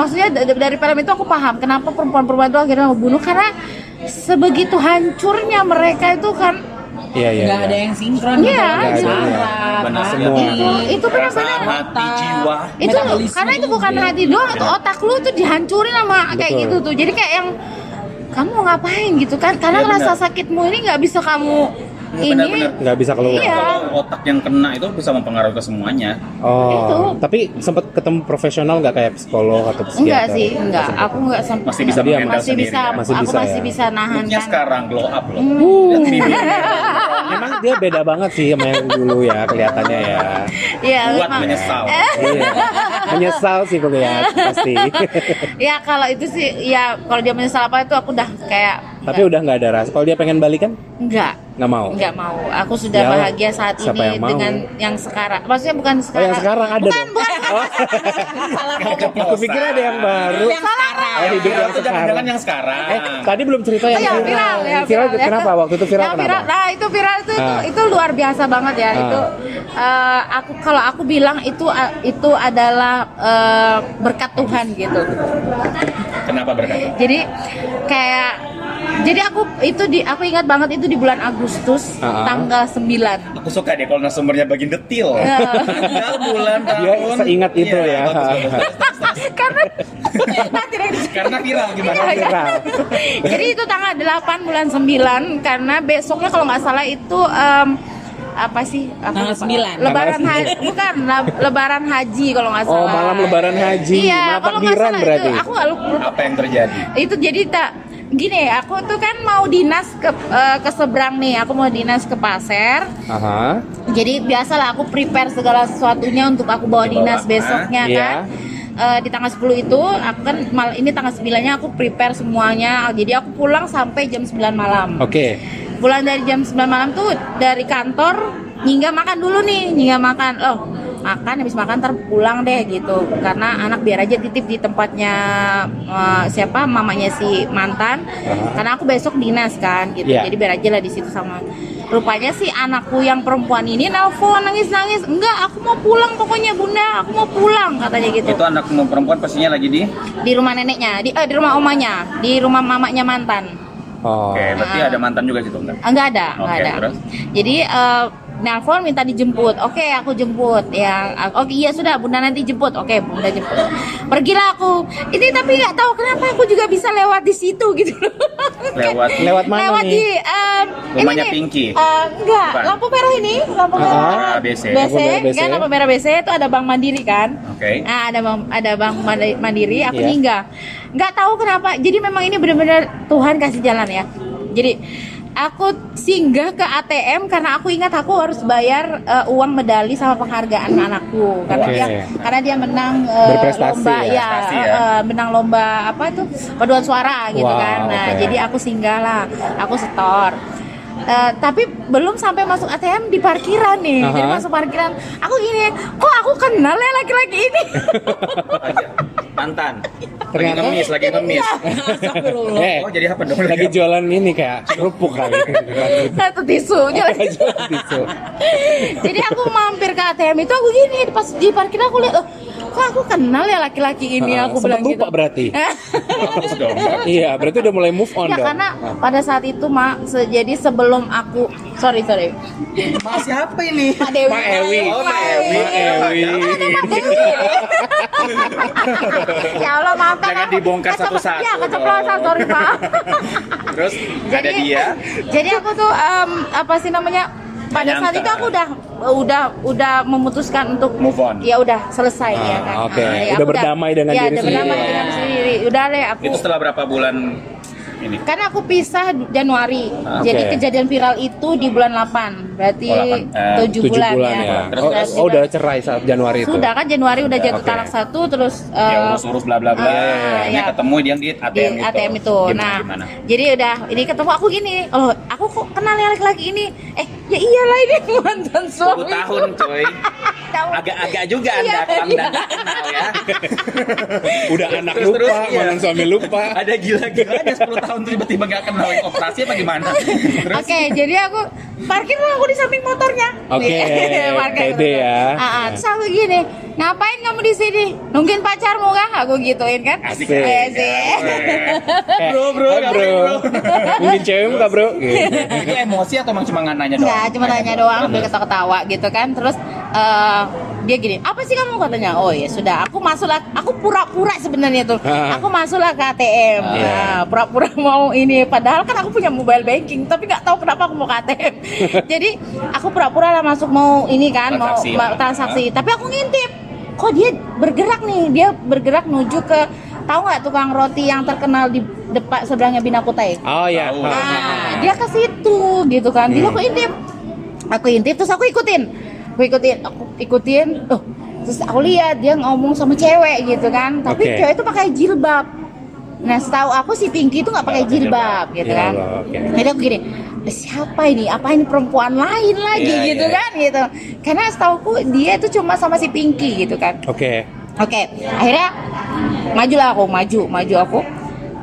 Speaker 5: maksudnya d- dari film itu aku paham kenapa perempuan-perempuan itu akhirnya ngebunuh karena sebegitu hancurnya mereka itu kan
Speaker 2: Iya, iya.
Speaker 4: nggak
Speaker 2: iya.
Speaker 4: ada yang sinkron
Speaker 5: Iya,
Speaker 4: nggak ada
Speaker 2: iya.
Speaker 4: yang Iya. saraf,
Speaker 3: Benar Iya,
Speaker 4: hati,
Speaker 3: semua.
Speaker 5: itu itu
Speaker 4: kan
Speaker 3: Perasaan
Speaker 5: benar-benar
Speaker 3: hati jiwa.
Speaker 5: itu
Speaker 4: Metabolisme
Speaker 5: karena itu bukan
Speaker 4: juga.
Speaker 5: hati doang itu otak lu tuh dihancurin sama kayak
Speaker 2: Betul.
Speaker 5: gitu tuh jadi kayak yang kamu mau ngapain gitu kan karena
Speaker 3: Iya, benar.
Speaker 5: rasa sakitmu ini nggak bisa kamu
Speaker 3: Iya,
Speaker 5: ini
Speaker 3: benar-benar.
Speaker 2: Nggak bisa keluar.
Speaker 5: Iya.
Speaker 3: Kalau otak yang kena itu bisa mempengaruhi ke semuanya.
Speaker 5: Itu.
Speaker 2: Oh, tapi sempat ketemu profesional nggak kayak psikolog atau psikiater?
Speaker 5: enggak sih enggak aku nggak sempat
Speaker 3: Masih bisa
Speaker 2: Dia
Speaker 3: menghandle
Speaker 5: masih
Speaker 3: sendiri.
Speaker 5: bisa,
Speaker 3: kan?
Speaker 2: Masih
Speaker 5: aku
Speaker 2: bisa
Speaker 5: masih
Speaker 2: ya.
Speaker 5: bisa nahan
Speaker 3: Looknya
Speaker 5: kan.
Speaker 3: sekarang glow up loh.
Speaker 2: Uh.
Speaker 3: Bibirnya
Speaker 5: Iya,
Speaker 2: Emang dia beda banget sih sama yang dulu ya kelihatannya ya.
Speaker 5: Iya,
Speaker 3: buat
Speaker 5: memang. Eh.
Speaker 3: menyesal.
Speaker 2: Iya. Menyesal sih kulihat pasti.
Speaker 5: ya kalau itu sih ya kalau dia menyesal apa itu aku udah kayak
Speaker 2: Tapi udah nggak ada rasa. Kalau dia pengen balikan,
Speaker 5: enggak
Speaker 2: nggak mau.
Speaker 5: Enggak mau. Aku sudah
Speaker 2: Iyalah,
Speaker 5: bahagia saat
Speaker 2: Ya, siapa
Speaker 5: ini
Speaker 2: yang mau?
Speaker 5: dengan yang sekarang. Maksudnya bukan
Speaker 2: Oh
Speaker 5: sekarang.
Speaker 2: yang sekarang ada
Speaker 5: Nah, bukan,
Speaker 2: dong.
Speaker 5: bukan.
Speaker 2: Oh, aku pikir ada yang baru.
Speaker 4: yang saraf.
Speaker 2: Oh, hidup yang
Speaker 3: Iya, Itu jangan-jangan
Speaker 2: sekarang.
Speaker 3: yang sekarang.
Speaker 2: Eh, tadi belum cerita yang
Speaker 5: Yang viral,
Speaker 2: viral.
Speaker 5: ya,
Speaker 2: Viral
Speaker 5: ya.
Speaker 2: kenapa waktu itu viral
Speaker 5: Yang
Speaker 2: kenapa?
Speaker 5: Nah, itu viral itu itu,
Speaker 2: Ah.
Speaker 5: itu luar biasa banget ya.
Speaker 2: Ah.
Speaker 5: Itu eh, aku kalau aku bilang itu eh, itu adalah eh, berkat Tuhan gitu.
Speaker 3: Kenapa berkata?
Speaker 5: Jadi kayak jadi aku itu di aku ingat banget itu di bulan Agustus
Speaker 2: Ah.
Speaker 5: tanggal 9.
Speaker 3: Aku suka deh kalau narasumbernya bagian detil.
Speaker 5: Oh.
Speaker 3: Tanggal, bulan, tahun.
Speaker 2: Dia seingat itu
Speaker 3: Iya,
Speaker 2: ya.
Speaker 3: bagus, bagus, bagus.
Speaker 5: Karena nanti deh
Speaker 3: Karena viral gimana?
Speaker 5: Iya, iya.
Speaker 2: Viral.
Speaker 5: Jadi itu tanggal 8 bulan 9 karena besoknya kalau nggak salah itu em, apa sih? Aku
Speaker 4: Tanggal
Speaker 5: lupa.
Speaker 4: 9.
Speaker 5: Lebaran
Speaker 2: Tanggal
Speaker 5: haji bukan lab- lebaran haji kalau nggak salah.
Speaker 2: Oh malam Lebaran Haji,
Speaker 5: Iya,
Speaker 2: malam
Speaker 5: kalau nggak
Speaker 2: takbiran
Speaker 5: salah
Speaker 2: berarti.
Speaker 5: itu aku nggak lupa.
Speaker 3: Apa yang terjadi?
Speaker 5: Itu jadi tak gini aku tuh kan mau dinas ke eh, ke seberang nih aku mau dinas ke pasar
Speaker 2: Aha.
Speaker 5: jadi biasalah aku prepare segala sesuatunya untuk aku bawa dinas
Speaker 3: Dibawa,
Speaker 5: besoknya
Speaker 2: Iya.
Speaker 5: kan. Eh, di tanggal 10 itu aku kan mal ini tanggal 9-nya aku prepare semuanya. Jadi aku pulang sampai jam 9 malam.
Speaker 2: Oke.
Speaker 5: Pulang dari jam 9 malam tuh dari kantor nyingga makan dulu nih, nyingga makan. Oh, makan habis makan ntar pulang deh gitu. Karena anak biar aja titip di tempatnya eh, siapa mamanya si mantan. Karena aku besok dinas kan gitu.
Speaker 2: Iya.
Speaker 5: Jadi biar aja lah di situ sama rupanya sih anakku yang perempuan ini nelpon nangis nangis enggak aku mau pulang pokoknya bunda aku mau pulang katanya gitu
Speaker 3: Itu anak perempuan pastinya lagi di
Speaker 5: di rumah neneknya di eh, di rumah omanya di rumah mamanya mantan
Speaker 2: Oh.
Speaker 3: Oke, berarti ada mantan juga situ enggak?
Speaker 5: enggak Ah, ada enggak
Speaker 3: Oke,
Speaker 5: ada
Speaker 3: terus?
Speaker 5: jadi eh, nelpon minta dijemput oke aku jemput ya oke iya sudah bunda nanti jemput oke bunda jemput pergilah aku ini tapi nggak tahu kenapa aku juga bisa lewat di situ gitu loh Kayak-
Speaker 3: Lewat
Speaker 2: Lewat mana
Speaker 5: lewat di
Speaker 2: nih?
Speaker 5: em,
Speaker 3: Rumahnya
Speaker 5: nih,
Speaker 3: Pinky.
Speaker 5: em, enggak,
Speaker 3: Bukan.
Speaker 5: lampu merah ini, lampu
Speaker 2: Ah,
Speaker 5: merah.
Speaker 3: BC.
Speaker 5: BC,
Speaker 2: Lampu merah BC.
Speaker 5: kan lampu merah BC itu ada Bank Mandiri kan?
Speaker 3: Oke.
Speaker 5: Nah, ada Bank ada Bank Mandi- Mandiri, aku
Speaker 2: Iya.
Speaker 5: nyinggah. Enggak tahu kenapa. Jadi memang ini benar-benar Tuhan kasih jalan ya. Jadi aku singgah ke ATM karena aku ingat aku harus bayar eh, uang medali sama penghargaan anakku karena
Speaker 2: Oke.
Speaker 5: dia karena dia menang eh,
Speaker 2: Berprestasi
Speaker 5: lomba
Speaker 2: ya.
Speaker 5: ya,
Speaker 3: Prestasi ya.
Speaker 5: eh, eh, menang lomba apa itu paduan suara gitu
Speaker 2: Wow,
Speaker 5: kan. Nah,
Speaker 2: oke.
Speaker 5: jadi aku singgah lah, aku setor. Eh, tapi belum sampai masuk ATM di parkiran nih. Jadi
Speaker 2: Aha.
Speaker 5: masuk parkiran, aku gini, kok aku kenal ya laki-laki ini?
Speaker 3: Aja. Mantan. Lagi
Speaker 2: Ternyata-
Speaker 3: ngemis, lagi ngemis.
Speaker 4: Astagfirullah.
Speaker 2: Eh,
Speaker 3: Oh, jadi apa dong?
Speaker 2: lagi jualan ini kayak kerupuk kali.
Speaker 5: Satu tisu. Jadi-
Speaker 2: Jualan tisu.
Speaker 5: Jadi aku mampir ke ATM itu aku gini pas di parkiran aku lihat, "Loh, kok aku kenal ya laki-laki ini?
Speaker 2: Ah,
Speaker 5: aku
Speaker 2: sempet
Speaker 5: bilang
Speaker 2: lupa
Speaker 5: gitu.
Speaker 2: berarti.
Speaker 3: Bagus dong.
Speaker 2: Iya, berarti udah mulai move on dong.
Speaker 5: Ya
Speaker 2: Nah,
Speaker 5: karena pada saat itu mak, se- jadi sebelum aku, sorry sorry,
Speaker 4: Mas siapa ini?
Speaker 5: Pak Oh, Dewi.
Speaker 2: Pak Ewi.
Speaker 5: Pak
Speaker 2: Pak
Speaker 5: Ewi.
Speaker 2: Ewi.
Speaker 5: Pak Dewi. ya Allah maafkan
Speaker 3: Jangan
Speaker 5: aku.
Speaker 3: dibongkar
Speaker 5: Keceple-
Speaker 3: satu-satu
Speaker 5: Ya keceplosan
Speaker 3: dong.
Speaker 5: sorry Pak.
Speaker 3: Terus ada dia.
Speaker 5: Jadi aku tuh em, apa sih namanya? Pada saat
Speaker 3: Nyangka.
Speaker 5: itu aku udah udah udah memutuskan untuk
Speaker 3: Move on.
Speaker 5: Ya udah selesai ya
Speaker 2: Ah,
Speaker 5: kan.
Speaker 2: oke.
Speaker 5: ya
Speaker 2: Udah
Speaker 5: aku
Speaker 2: berdamai dengan
Speaker 5: ya,
Speaker 2: diri
Speaker 5: udah berdamai
Speaker 2: sendiri.
Speaker 5: dengan sendiri. Udah deh aku.
Speaker 3: Itu setelah berapa bulan ini?
Speaker 5: Karena aku pisah Januari.
Speaker 2: Oke.
Speaker 5: Jadi kejadian viral itu di bulan 8. Berarti
Speaker 3: Oh, delapan- eh,
Speaker 5: tujuh bulan, ya.
Speaker 2: Oh,
Speaker 5: Berarti
Speaker 2: oh, udah cerai saat Januari itu.
Speaker 5: Sudah kan Januari udah jatuh
Speaker 2: oke.
Speaker 5: talak satu terus
Speaker 3: ya
Speaker 5: eh,
Speaker 3: urus-urus bla bla bla.
Speaker 5: Ah,
Speaker 3: Akhirnya
Speaker 5: ya.
Speaker 3: ketemu dia di ATM
Speaker 5: di
Speaker 3: itu.
Speaker 5: ATM itu.
Speaker 3: Gimana,
Speaker 5: nah,
Speaker 3: gimana?
Speaker 5: jadi udah ini ketemu aku gini, loh aku kok kenal yang laki-laki ini? Eh, ya iyalah ini mantan
Speaker 3: 10
Speaker 5: suami.
Speaker 3: tahun cuy.
Speaker 5: Tahu.
Speaker 3: Agak-agak juga Anda
Speaker 5: Iya,
Speaker 3: kalau
Speaker 5: iya.
Speaker 3: Anda nggak kenal ya.
Speaker 2: Udah anak
Speaker 3: Terus-
Speaker 2: lupa,
Speaker 3: terus, iya.
Speaker 2: mantan suami lupa.
Speaker 3: Ada gila-gilanya 10 tahun tiba-tiba nggak kenal operasi apa gimana? Terus
Speaker 5: Oke, jadi aku parkirlah aku di samping motornya.
Speaker 2: Oke,
Speaker 5: Parkir
Speaker 2: pede ya.
Speaker 5: Ah, ah. terus aku gini, ngapain kamu di sini? Nungguin pacarmu nggak? Aku gituin kan.
Speaker 2: Asik.
Speaker 5: Iya sih.
Speaker 2: Kayak,
Speaker 3: Bro, bro,
Speaker 2: "Hai, bro.
Speaker 3: ngapain,
Speaker 2: Mungkin cewek enggak, Bro? Gitu.
Speaker 3: itu emosi atau emang cuma nggak nanya doang?
Speaker 5: Enggak, cuma nanya doang, sambil ketawa-ketawa gitu kan. Terus eh, dia gini, apa sih kamu katanya? Oh ya sudah, aku masuklah, aku pura-pura sebenarnya tuh,
Speaker 2: Ah.
Speaker 5: aku masuklah ke ATM,
Speaker 2: Ah.
Speaker 5: Nah, pura-pura mau ini. Padahal kan aku punya mobile banking, tapi nggak tahu kenapa aku mau ke ATM. Jadi aku pura-pura lah masuk mau ini kan, mau
Speaker 3: Transaksi.
Speaker 5: ma- transaksi. Tapi aku ngintip, kok dia bergerak nih, dia bergerak menuju ke tahu nggak tukang roti yang terkenal di depan seberangnya Bina Kutai?
Speaker 2: Oh ya.
Speaker 3: Tahu.
Speaker 2: Ah, ah, ah.
Speaker 5: Nah, dia ke situ gitu kan. Jadi
Speaker 2: Hmm.
Speaker 5: aku intip. Aku intip terus aku ikutin. Aku ikutin, aku ikutin. Oh, terus aku lihat dia ngomong sama cewek gitu kan. Tapi
Speaker 2: Oke.
Speaker 5: cewek itu pakai jilbab. Nah, setahu aku si Pinky itu nggak pakai
Speaker 3: Nggak pakai
Speaker 5: jilbab gitu
Speaker 2: Ya
Speaker 5: kan.
Speaker 2: Allah, oke.
Speaker 5: Jadi aku gini, "Eh, siapa ini? Apa ini perempuan lain lagi
Speaker 3: Iya,
Speaker 5: gitu
Speaker 3: iya.
Speaker 5: kan gitu. Karena setahuku dia itu cuma sama si Pinky gitu kan.
Speaker 2: Oke.
Speaker 5: Oke, akhirnya majulah aku, maju, maju aku.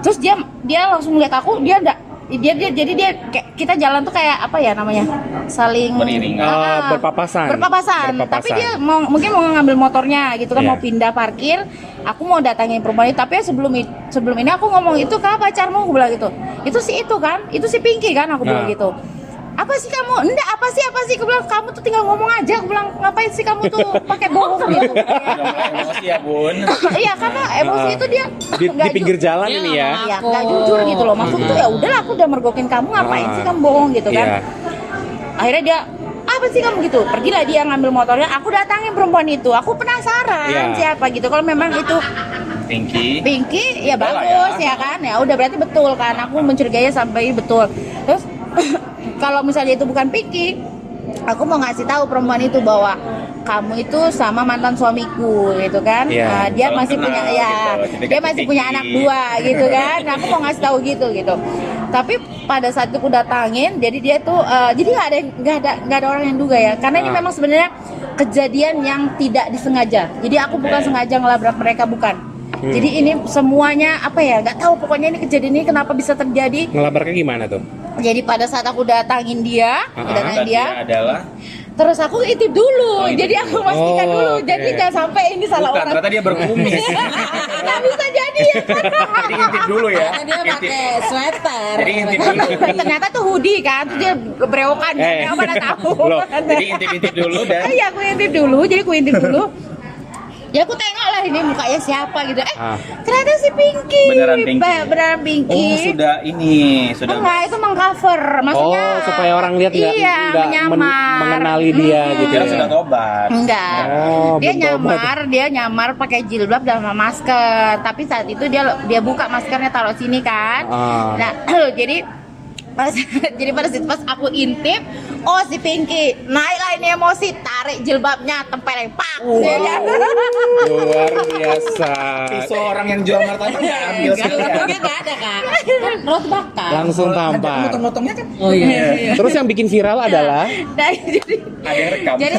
Speaker 5: Terus dia dia langsung lihat aku, dia enggak dia, dia jadi dia kayak- kita jalan tuh kayak apa ya namanya? Saling
Speaker 3: Beriringan.
Speaker 5: Ah,
Speaker 2: Oh, berpapasan.
Speaker 5: Berpapasan. Tapi
Speaker 2: Berpapasan.
Speaker 5: dia mau mungkin mau ngambil motornya gitu kan
Speaker 2: Iya.
Speaker 5: mau pindah parkir. Aku mau datangin perempuan itu, tapi ya sebelum i- sebelum ini aku ngomong itu kan pacarmu aku bilang gitu. Itu si itu kan, itu si Pinky kan aku bilang
Speaker 2: Nah.
Speaker 5: gitu. Apa sih kamu? Enggak, apa sih? Apa sih? Aku bilang kamu tuh tinggal ngomong aja. Aku bilang ngapain sih kamu tuh pakai bohong gitu.
Speaker 3: Udah mulai emosi ya bun.
Speaker 5: Iya karena emosi itu dia
Speaker 2: Ah, Eh, Di, di
Speaker 5: nggak ju-
Speaker 2: pinggir jalan
Speaker 4: Dia
Speaker 2: ini ya.
Speaker 4: nggak
Speaker 5: Iya,
Speaker 4: Aku.
Speaker 5: nggak jujur gitu loh. Maksud tuh ya udahlah aku udah mergokin kamu ngapain
Speaker 2: Ah.
Speaker 5: sih kamu bohong gitu kan.
Speaker 2: Iya.
Speaker 5: Akhirnya dia apa sih kamu gitu? Pergilah dia ngambil motornya. Aku datangin perempuan itu. Aku penasaran
Speaker 2: Iya.
Speaker 5: siapa gitu. Kalau memang itu
Speaker 3: Pinky.
Speaker 5: Pinky ya
Speaker 3: Enggak lah
Speaker 5: bagus
Speaker 3: ya.
Speaker 5: ya. kan ya udah berarti betul kan aku mencurigainya sampai betul terus kalau misalnya itu bukan Pinky aku mau ngasih tahu perempuan itu bahwa kamu itu sama mantan suamiku gitu kan
Speaker 2: Iya.
Speaker 5: Nah, dia
Speaker 3: Salam
Speaker 5: masih
Speaker 3: kenal,
Speaker 5: punya ya
Speaker 3: gitu. Jadi
Speaker 5: dia
Speaker 3: kasih
Speaker 5: masih punya
Speaker 3: Pinky.
Speaker 5: anak dua gitu kan Nah, aku mau ngasih tahu gitu gitu tapi pada saat aku datangin jadi dia tuh eh, jadi nggak ada yang- nggak ada nggak ada orang yang duga ya karena ini
Speaker 2: Ah.
Speaker 5: memang sebenarnya kejadian yang tidak disengaja jadi aku bukan sengaja ngelabrak mereka bukan jadi ini semuanya apa ya nggak tahu pokoknya ini kejadian ini kenapa bisa terjadi
Speaker 2: Ngelabarnya gimana tuh?
Speaker 5: jadi pada saat aku datangin dia
Speaker 2: Ah.
Speaker 5: aku datangin
Speaker 3: Tadi
Speaker 5: dia
Speaker 3: adalah
Speaker 5: terus aku intip
Speaker 3: Oh,
Speaker 5: dulu
Speaker 3: intip
Speaker 5: jadi aku pastikan
Speaker 2: Oh,
Speaker 5: dulu
Speaker 2: oke.
Speaker 5: jadi jangan sampai ini salah
Speaker 3: bukan,
Speaker 5: orang
Speaker 3: ternyata dia berkumis.
Speaker 5: nggak bisa jadi ya
Speaker 3: Jadi intip dulu ya.
Speaker 4: Karena dia pakai sweater.
Speaker 3: Jadi intip dulu.
Speaker 5: ternyata tuh hoodie kan terus dia brewokan kan
Speaker 2: Eh.
Speaker 5: ya mana tahu
Speaker 2: Loh,
Speaker 3: Jadi intip-intip dulu
Speaker 2: Kan?
Speaker 3: dan
Speaker 5: Ah, iya aku intip dulu jadi aku intip dulu ya aku tengok lah ini mukanya siapa gitu eh
Speaker 2: Ah.
Speaker 5: ternyata si Pinky
Speaker 3: Beneran Pinky.
Speaker 5: Ba- beneran Pinky
Speaker 3: Oh sudah ini sudah
Speaker 5: enggak itu mengcover maksudnya
Speaker 2: oh, supaya orang lihat nggak
Speaker 5: iya,
Speaker 2: nggak men-
Speaker 5: menyamar
Speaker 2: mengenali dia
Speaker 5: Mm-mm.
Speaker 2: gitu.
Speaker 3: kira
Speaker 2: ya.
Speaker 3: sudah tobat.
Speaker 5: Enggak.
Speaker 2: Oh,
Speaker 5: dia
Speaker 2: belum tobat.
Speaker 5: nyamar, dia nyamar pakai jilbab dan sama masker. Tapi saat itu dia dia buka maskernya taruh sini kan.
Speaker 2: Ah.
Speaker 5: Nah, jadi pas- jadi pada situ pas aku intip, oh si Pinky naiklah ini emosi, tarik jilbabnya tempeleng pak. Dia kan? lihat.
Speaker 2: Luar biasa.
Speaker 3: Seorang yang jual martabak nggak ambil sekalian.
Speaker 4: Jilbabnya Iya, kan? nggak ada kak. Kan roti bakar.
Speaker 2: Langsung tampar.
Speaker 3: Motong-motongnya kan
Speaker 4: Oh iya.
Speaker 2: Terus yang bikin viral adalah
Speaker 5: Nah, jadi
Speaker 3: ada yang rekam.
Speaker 5: jadi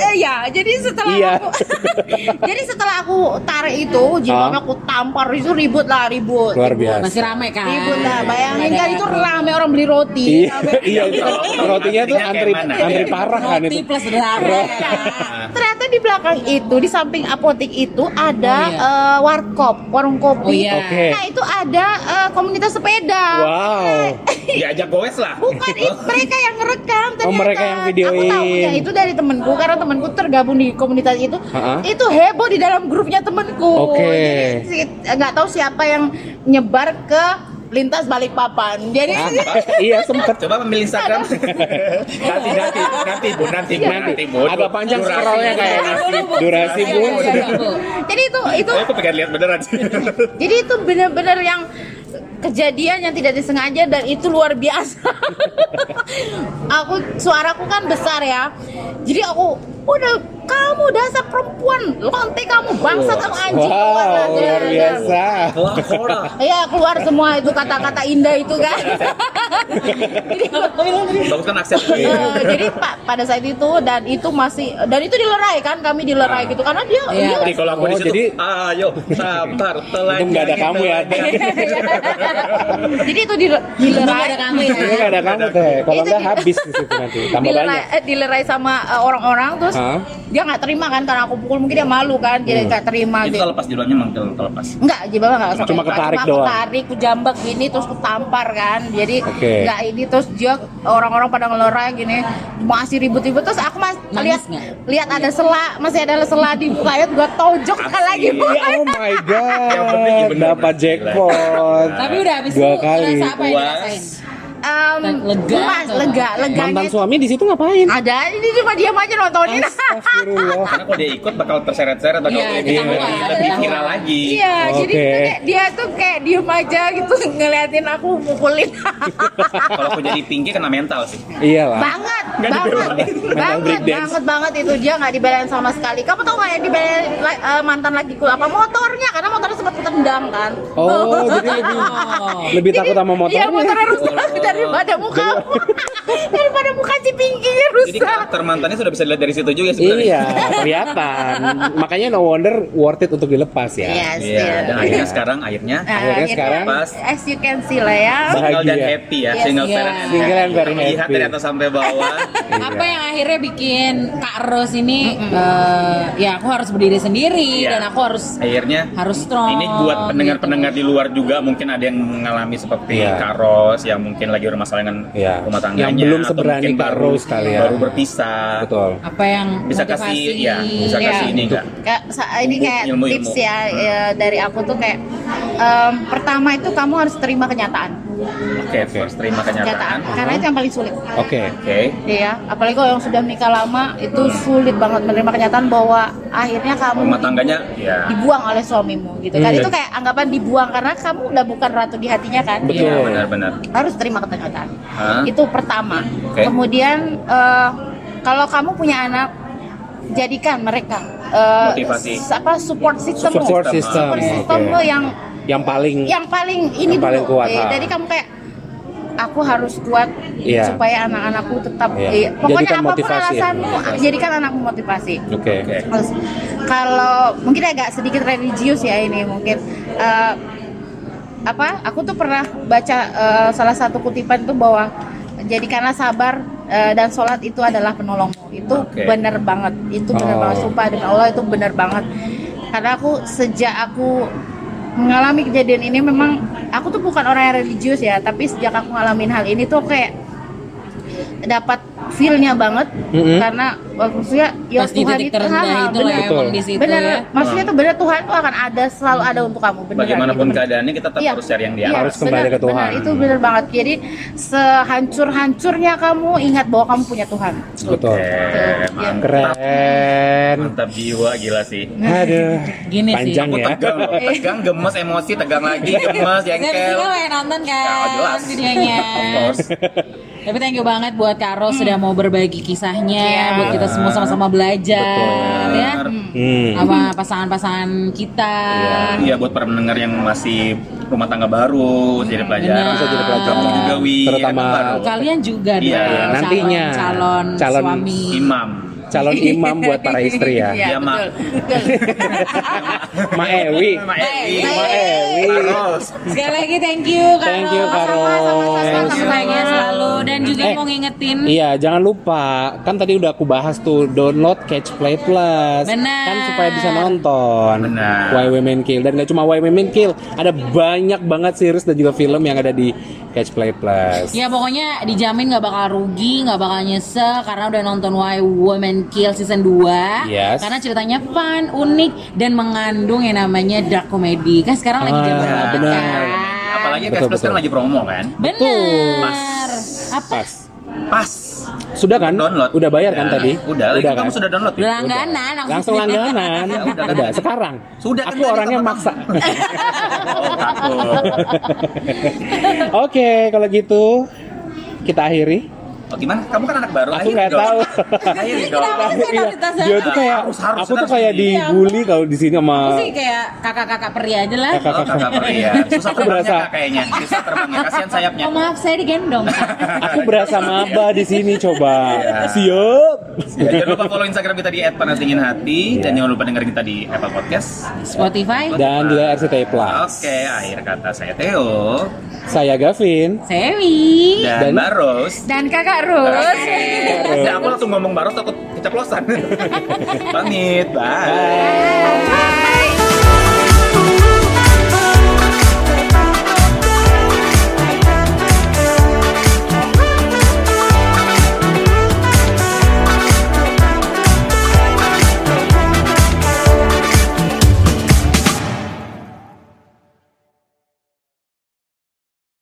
Speaker 5: eh, ya jadi setelah
Speaker 2: Iya.
Speaker 5: aku jadi setelah aku tarik itu jilbabnya
Speaker 2: Ah.
Speaker 5: aku tampar itu ribut lah ribut
Speaker 2: luar
Speaker 5: ribut.
Speaker 2: biasa.
Speaker 4: Masih ramai kan.
Speaker 5: ribut lah bayangin
Speaker 4: Ada
Speaker 5: kan itu
Speaker 4: roti.
Speaker 5: rame orang beli roti
Speaker 2: Iya,
Speaker 5: Rame.
Speaker 2: iya itu. Rotinya tuh
Speaker 3: Antrinya kayak
Speaker 2: antri
Speaker 3: mana?
Speaker 2: antri parah kan
Speaker 4: Roti
Speaker 2: itu.
Speaker 4: plus rame.
Speaker 3: Ah,
Speaker 5: ternyata di belakang itu di samping apotek itu ada
Speaker 4: Oh, iya.
Speaker 5: eh, warkop warung kopi
Speaker 4: Oh, iya.
Speaker 2: Oke.
Speaker 5: nah itu ada eh, komunitas sepeda
Speaker 2: Wow.
Speaker 3: Diajak goes lah. Gitu.
Speaker 5: Bukan, itu mereka yang ngerekam ternyata.
Speaker 2: Oh, mereka yang videoin.
Speaker 5: Aku tahunya itu dari temenku karena temenku tergabung di komunitas itu.
Speaker 2: Ha-ha.
Speaker 5: Itu heboh di dalam grupnya temenku.
Speaker 2: Oke.
Speaker 5: Jadi si- nggak tahu siapa yang nyebar ke lintas balik papan. Jadi
Speaker 2: Ah, iya sempet.
Speaker 3: Coba memilih Instagram. nanti nanti nanti bu nanti bu
Speaker 2: Nanti
Speaker 3: Iya, nanti bu.
Speaker 2: agak panjang
Speaker 3: Durasi.
Speaker 2: scrollnya kayaknya. Durasi
Speaker 4: Iya,
Speaker 2: bu.
Speaker 4: iya, iya, Bu.
Speaker 5: jadi itu itu
Speaker 2: Eh,
Speaker 3: Eh, Saya tuh pengen lihat beneran sih.
Speaker 5: jadi itu bener-bener yang kejadian yang tidak disengaja dan itu luar biasa. aku suaraku kan besar ya. Jadi aku udah kamu dasar perempuan, lonte kamu, bangsa kamu anjing keluar lah."
Speaker 2: Wow, luar biasa.
Speaker 5: Iya keluar semua itu kata-kata indah itu kan. Jadi
Speaker 3: Bagus kan aksen gue.
Speaker 5: Eh, jadi pak pada saat itu dan itu masih dan itu dilerai kan kami
Speaker 2: Ah.
Speaker 5: dilerai gitu karena dia
Speaker 4: Iya.
Speaker 5: dia
Speaker 3: Jadi kalau aku di
Speaker 2: Oh,
Speaker 3: situ,
Speaker 2: jadi-
Speaker 3: ayo sabar telan.
Speaker 2: Untung nggak ada
Speaker 3: gitu.
Speaker 2: kamu ya.
Speaker 5: jadi itu dile-
Speaker 4: Untung
Speaker 5: dilerai
Speaker 4: ada kamu ya.
Speaker 2: Ini nggak ada kamu teh. Kalau
Speaker 5: Itu
Speaker 2: nggak
Speaker 5: dia.
Speaker 2: habis di situ nanti. Tambah
Speaker 5: dilerai,
Speaker 2: banyak.
Speaker 5: eh, dilerai sama eh, orang-orang terus
Speaker 2: Hah? Hmm.
Speaker 5: dia nggak terima kan karena aku pukul mungkin dia malu kan jadi nggak terima
Speaker 3: Itu
Speaker 5: gitu
Speaker 3: kalau pas di dalamnya emang kalau kalau pas.
Speaker 5: Enggak, jebak enggak sampai
Speaker 2: Cuma
Speaker 5: itu.
Speaker 2: ketarik
Speaker 5: Cuma aku
Speaker 2: doang.
Speaker 5: tarik, aku jambak gini terus aku tampar kan. Jadi
Speaker 2: Oke.
Speaker 5: enggak ini terus dia orang-orang pada ngelorai gini masih ribut-ribut terus aku mas
Speaker 4: Nangis
Speaker 5: lihat
Speaker 4: nggak?
Speaker 5: lihat ada sela masih ada sela di mukanya gua tojok lagi Bu.
Speaker 2: Iya, oh my god.
Speaker 3: Yang penting ya bener.
Speaker 2: Dapat jackpot.
Speaker 4: Tapi udah habis
Speaker 2: Dua
Speaker 4: itu
Speaker 2: kali.
Speaker 4: rasa apa yang
Speaker 3: Puas.
Speaker 4: dirasain?
Speaker 5: Em,
Speaker 4: Lega
Speaker 5: puas,
Speaker 4: atau
Speaker 5: lega, leganya
Speaker 2: Mantan suami di situ ngapain?
Speaker 5: ada ini cuma diam aja nontonin.
Speaker 2: Astagfirullah.
Speaker 3: Karena kalau dia ikut bakal terseret-seret bakal
Speaker 4: Iya,
Speaker 3: kayak
Speaker 4: ketahuan.
Speaker 3: lebih kira lagi.
Speaker 5: Iya, jadi
Speaker 2: Oke.
Speaker 5: itu kayak, dia tuh kayak diem aja gitu ngeliatin aku mukulin.
Speaker 3: Kalau aku jadi pinggir kena mental sih.
Speaker 2: Iyalah.
Speaker 5: banget
Speaker 3: Nggak
Speaker 5: banget
Speaker 3: dibelain.
Speaker 5: banget
Speaker 2: breakdance.
Speaker 5: banget banget itu dia nggak dibelain sama sekali kamu tau nggak yang dibelain la- eh, mantan lagi ku apa motornya karena motornya sempat ketendang kan
Speaker 2: Oh, jadi lebih lebih takut sama motornya.
Speaker 5: iya
Speaker 2: Oh.
Speaker 5: motornya rusak daripada muka daripada muka si pinggirnya
Speaker 3: Jadi
Speaker 5: rusak
Speaker 3: karakter mantannya sudah bisa dilihat dari situ juga sebenarnya.
Speaker 2: Iya, kelihatan. Makanya no wonder worth it untuk dilepas ya.
Speaker 5: Yes,
Speaker 3: Iya,
Speaker 5: iya.
Speaker 3: dan akhirnya sekarang akhirnya
Speaker 5: Nah,
Speaker 2: akhirnya sekarang-
Speaker 3: Pas.
Speaker 5: as you can see lah ya
Speaker 3: single dan
Speaker 2: Bahagia.
Speaker 3: happy ya,
Speaker 4: Yes,
Speaker 3: single
Speaker 4: iya.
Speaker 3: parent and
Speaker 2: Single and very
Speaker 3: Melihat
Speaker 2: happy.
Speaker 3: dari atas sampai bawah.
Speaker 4: Apa yang akhirnya bikin Kak Ros ini eh, ya aku harus berdiri sendiri
Speaker 3: Iya.
Speaker 4: dan aku harus
Speaker 3: akhirnya
Speaker 4: Harus strong, gitu.
Speaker 3: Ini buat pendengar-pendengar di luar juga mungkin ada yang mengalami seperti
Speaker 2: Iya.
Speaker 3: Karos yang mungkin lagi bermasalah dengan
Speaker 2: Iya.
Speaker 3: rumah tangganya
Speaker 2: Yang belum
Speaker 3: atau
Speaker 2: seberani
Speaker 3: mungkin
Speaker 2: Kak
Speaker 3: baru
Speaker 2: Rose kali ya.
Speaker 3: baru berpisah.
Speaker 2: Betul.
Speaker 4: apa yang
Speaker 3: Bisa kasih
Speaker 4: motivasi.
Speaker 3: ya, bisa
Speaker 5: Iya.
Speaker 3: kasih ini enggak?
Speaker 5: Kayak sa- ini
Speaker 3: Ilmu- Hmm.
Speaker 5: kayak
Speaker 3: ilmu-
Speaker 5: tips
Speaker 3: ilmu.
Speaker 5: ya, ya, dari aku tuh kayak em, pertama itu kamu harus terima kenyataan
Speaker 3: Oke, harus terima kenyataan.
Speaker 5: kenyataan karena itu yang paling sulit
Speaker 2: Oke.
Speaker 3: Oke.
Speaker 5: Iya, apalagi kalau yang sudah menikah lama itu sulit banget menerima kenyataan bahwa akhirnya kamu
Speaker 3: Rumah tangganya Hmm. ya.
Speaker 5: dibuang oleh suamimu gitu kan.
Speaker 2: Iya.
Speaker 5: Itu kayak anggapan dibuang karena kamu udah bukan ratu di hatinya kan.
Speaker 2: Betul.
Speaker 3: Iya, benar-benar.
Speaker 5: Harus terima kenyataan.
Speaker 3: Hah?
Speaker 5: Itu pertama.
Speaker 3: Oke.
Speaker 5: Kemudian eh, kalau kamu punya anak jadikan mereka eh,
Speaker 3: Motivasi.
Speaker 5: s- apa support system
Speaker 2: Support system.
Speaker 5: support system
Speaker 2: Oke.
Speaker 5: lo yang
Speaker 2: Yang paling
Speaker 3: Iya.
Speaker 5: yang paling ini
Speaker 2: Yang paling
Speaker 5: dulu.
Speaker 2: kuat,
Speaker 5: Eh,
Speaker 2: ha.
Speaker 5: jadi kamu kayak aku harus kuat
Speaker 2: Iya.
Speaker 5: supaya anak-anakku tetap
Speaker 2: Iya.
Speaker 5: eh, pokoknya
Speaker 2: Jadikan
Speaker 5: apapun
Speaker 2: motivasi. ya.
Speaker 5: alasanmu jadikan anakmu motivasi.
Speaker 2: Oke.
Speaker 3: Oke.
Speaker 5: Terus, kalau mungkin agak sedikit religius ya ini mungkin Eh, apa? Aku tuh pernah baca eh, salah satu kutipan tuh bahwa jadikanlah sabar eh, dan sholat itu adalah penolongmu. Itu
Speaker 3: Oke.
Speaker 5: bener banget. Itu bener
Speaker 2: Oh.
Speaker 5: banget. Sumpah demi Allah itu bener banget. Karena aku sejak aku mengalami kejadian ini memang aku tuh bukan orang yang religius ya, tapi sejak aku ngalamin hal ini tuh kayak dapat feelnya banget
Speaker 2: Mhm.
Speaker 5: karena maksudnya ya
Speaker 4: pas di
Speaker 5: Tuhan
Speaker 4: titik
Speaker 5: itu
Speaker 4: terendah
Speaker 5: ha,
Speaker 4: itu lah
Speaker 5: bener,
Speaker 4: emang di situ
Speaker 5: bener
Speaker 4: ya.
Speaker 5: maksudnya tuh bener Tuhan tuh akan ada selalu ada untuk kamu beneran,
Speaker 3: Nah. Bagaimanapun
Speaker 5: gitu.
Speaker 3: keadaannya kita tetap
Speaker 5: Iya,
Speaker 3: harus cari yang di
Speaker 5: iya,
Speaker 3: atas.
Speaker 2: Harus kembali
Speaker 5: bener,
Speaker 2: ke Tuhan.
Speaker 5: bener, itu bener banget jadi sehancur-hancurnya kamu ingat bahwa kamu punya Tuhan
Speaker 2: Betul.
Speaker 3: Oke, mantap.
Speaker 2: Keren.
Speaker 3: Mantap jiwa gila sih.
Speaker 2: Aduh.
Speaker 4: Gini sih.
Speaker 2: Panjang
Speaker 3: Nah, Aku
Speaker 2: ya.
Speaker 3: tegang loh, tegang, gemes, emosi, tegang lagi, gemes,
Speaker 4: Eh. Iya. Saya di
Speaker 3: jengkel.
Speaker 4: sini lo yang nonton
Speaker 3: Ya,
Speaker 4: kan
Speaker 3: jelas.
Speaker 4: videonya.
Speaker 3: Of course.
Speaker 4: Tapi thank you banget buat Kak
Speaker 2: Hmm.
Speaker 4: Ros sudah mau berbagi kisahnya
Speaker 5: Iya.
Speaker 4: buat kita semua sama-sama belajar
Speaker 3: Betul.
Speaker 4: ya.
Speaker 2: Hmm.
Speaker 4: Apa pasangan-pasangan kita.
Speaker 3: Iya buat para pendengar yang masih rumah tangga baru, jadi pelajaran.
Speaker 4: Benar. Bisa jadi pelajaran.
Speaker 3: Kamu juga wi,
Speaker 2: Terutama
Speaker 3: kan baru.
Speaker 4: Kalian juga
Speaker 3: Iya,
Speaker 4: dong,
Speaker 3: iya,
Speaker 2: nantinya.
Speaker 4: calon, calon,
Speaker 2: Calon
Speaker 4: suami.
Speaker 3: imam.
Speaker 2: Calon imam buat para istri ya.
Speaker 3: Iya, Mak.
Speaker 2: Ma Ewi.
Speaker 3: Ma Ewi,
Speaker 4: Ewi.
Speaker 3: Ma Ewi. Terus.
Speaker 4: Sekali lagi thank you Kak
Speaker 2: Thank you,
Speaker 4: Ros.
Speaker 2: Kak
Speaker 4: Sama-sama,
Speaker 2: Ros.
Speaker 4: sama-sama selalu dan juga
Speaker 2: Eh,
Speaker 4: mau ngingetin
Speaker 2: Iya, jangan lupa kan tadi udah aku bahas tuh download Catch Play Plus.
Speaker 4: Benar.
Speaker 2: Kan supaya bisa nonton.
Speaker 3: Benar.
Speaker 2: Why Women Kill dan gak cuma Why Women Kill, ada banyak banget series dan juga film yang ada di Catch Play Plus.
Speaker 4: Ya pokoknya dijamin nggak bakal rugi, nggak bakal nyesel karena udah nonton Why Women Kill season 2
Speaker 2: Yes.
Speaker 4: Karena ceritanya fun, unik dan mengandung yang namanya dark comedy. Kan sekarang lagi
Speaker 2: Ah,
Speaker 4: zaman banget
Speaker 2: benar.
Speaker 4: kan.
Speaker 3: Apalagi
Speaker 2: Betul,
Speaker 3: Cash Plus kan
Speaker 2: betul.
Speaker 3: lagi promo kan.
Speaker 4: Bener.
Speaker 2: Betul.
Speaker 4: Apa?
Speaker 2: Pas.
Speaker 3: Pas.
Speaker 2: Sudah kan?
Speaker 3: Download.
Speaker 2: Udah bayar kan tadi?
Speaker 3: Udah, lagi
Speaker 2: Udah
Speaker 3: kamu
Speaker 2: kan?
Speaker 3: sudah download. ya?
Speaker 4: Langganan aku
Speaker 2: Langsung langganan.
Speaker 3: Ya, udah,
Speaker 2: udah,
Speaker 3: udah.
Speaker 2: sekarang.
Speaker 3: Sudah kan
Speaker 2: Aku
Speaker 3: tadi,
Speaker 2: orangnya
Speaker 3: Papa.
Speaker 2: maksa.
Speaker 3: Oh, takut.
Speaker 2: Oke, kalau gitu kita akhiri.
Speaker 3: Oh, gimana? Kamu kan anak baru.
Speaker 2: Aku
Speaker 3: Akhirin
Speaker 2: nggak
Speaker 3: dong.
Speaker 2: tahu.
Speaker 3: Akhirin dong.
Speaker 4: Kenapa sih totalitasnya?
Speaker 2: Iya, Dia tuh kayak
Speaker 3: Harus, harus,
Speaker 2: aku tuh
Speaker 3: harus.
Speaker 2: kayak dibully kalau di sini sama
Speaker 4: Aku sih kayak kakak-kakak peri aja lah.
Speaker 2: Kakak.
Speaker 3: Oh, kakak peri ya. Susah
Speaker 2: Aku
Speaker 3: terbangnya
Speaker 2: berasa-
Speaker 3: Kak, kayaknya. Susah terbangnya. Kasihan sayapnya.
Speaker 4: Oh maaf saya digendong.
Speaker 2: aku berasa maba di sini coba. Siap.
Speaker 3: Ya, jangan lupa follow Instagram kita di @panasdinginhati
Speaker 2: Iya.
Speaker 3: dan jangan lupa dengerin kita di Apple Podcast.
Speaker 4: Spotify,
Speaker 2: Dan juga RCTI Plus.
Speaker 3: Oke, akhir kata saya Theo
Speaker 2: Saya Gavin.
Speaker 4: Sewi.
Speaker 3: dan,
Speaker 2: Dan-
Speaker 3: Baros.
Speaker 5: Dan Kakak Rus.
Speaker 3: Ya, aku langsung ngomong Baros takut keceplosan. Pamit, bye.
Speaker 5: Bye.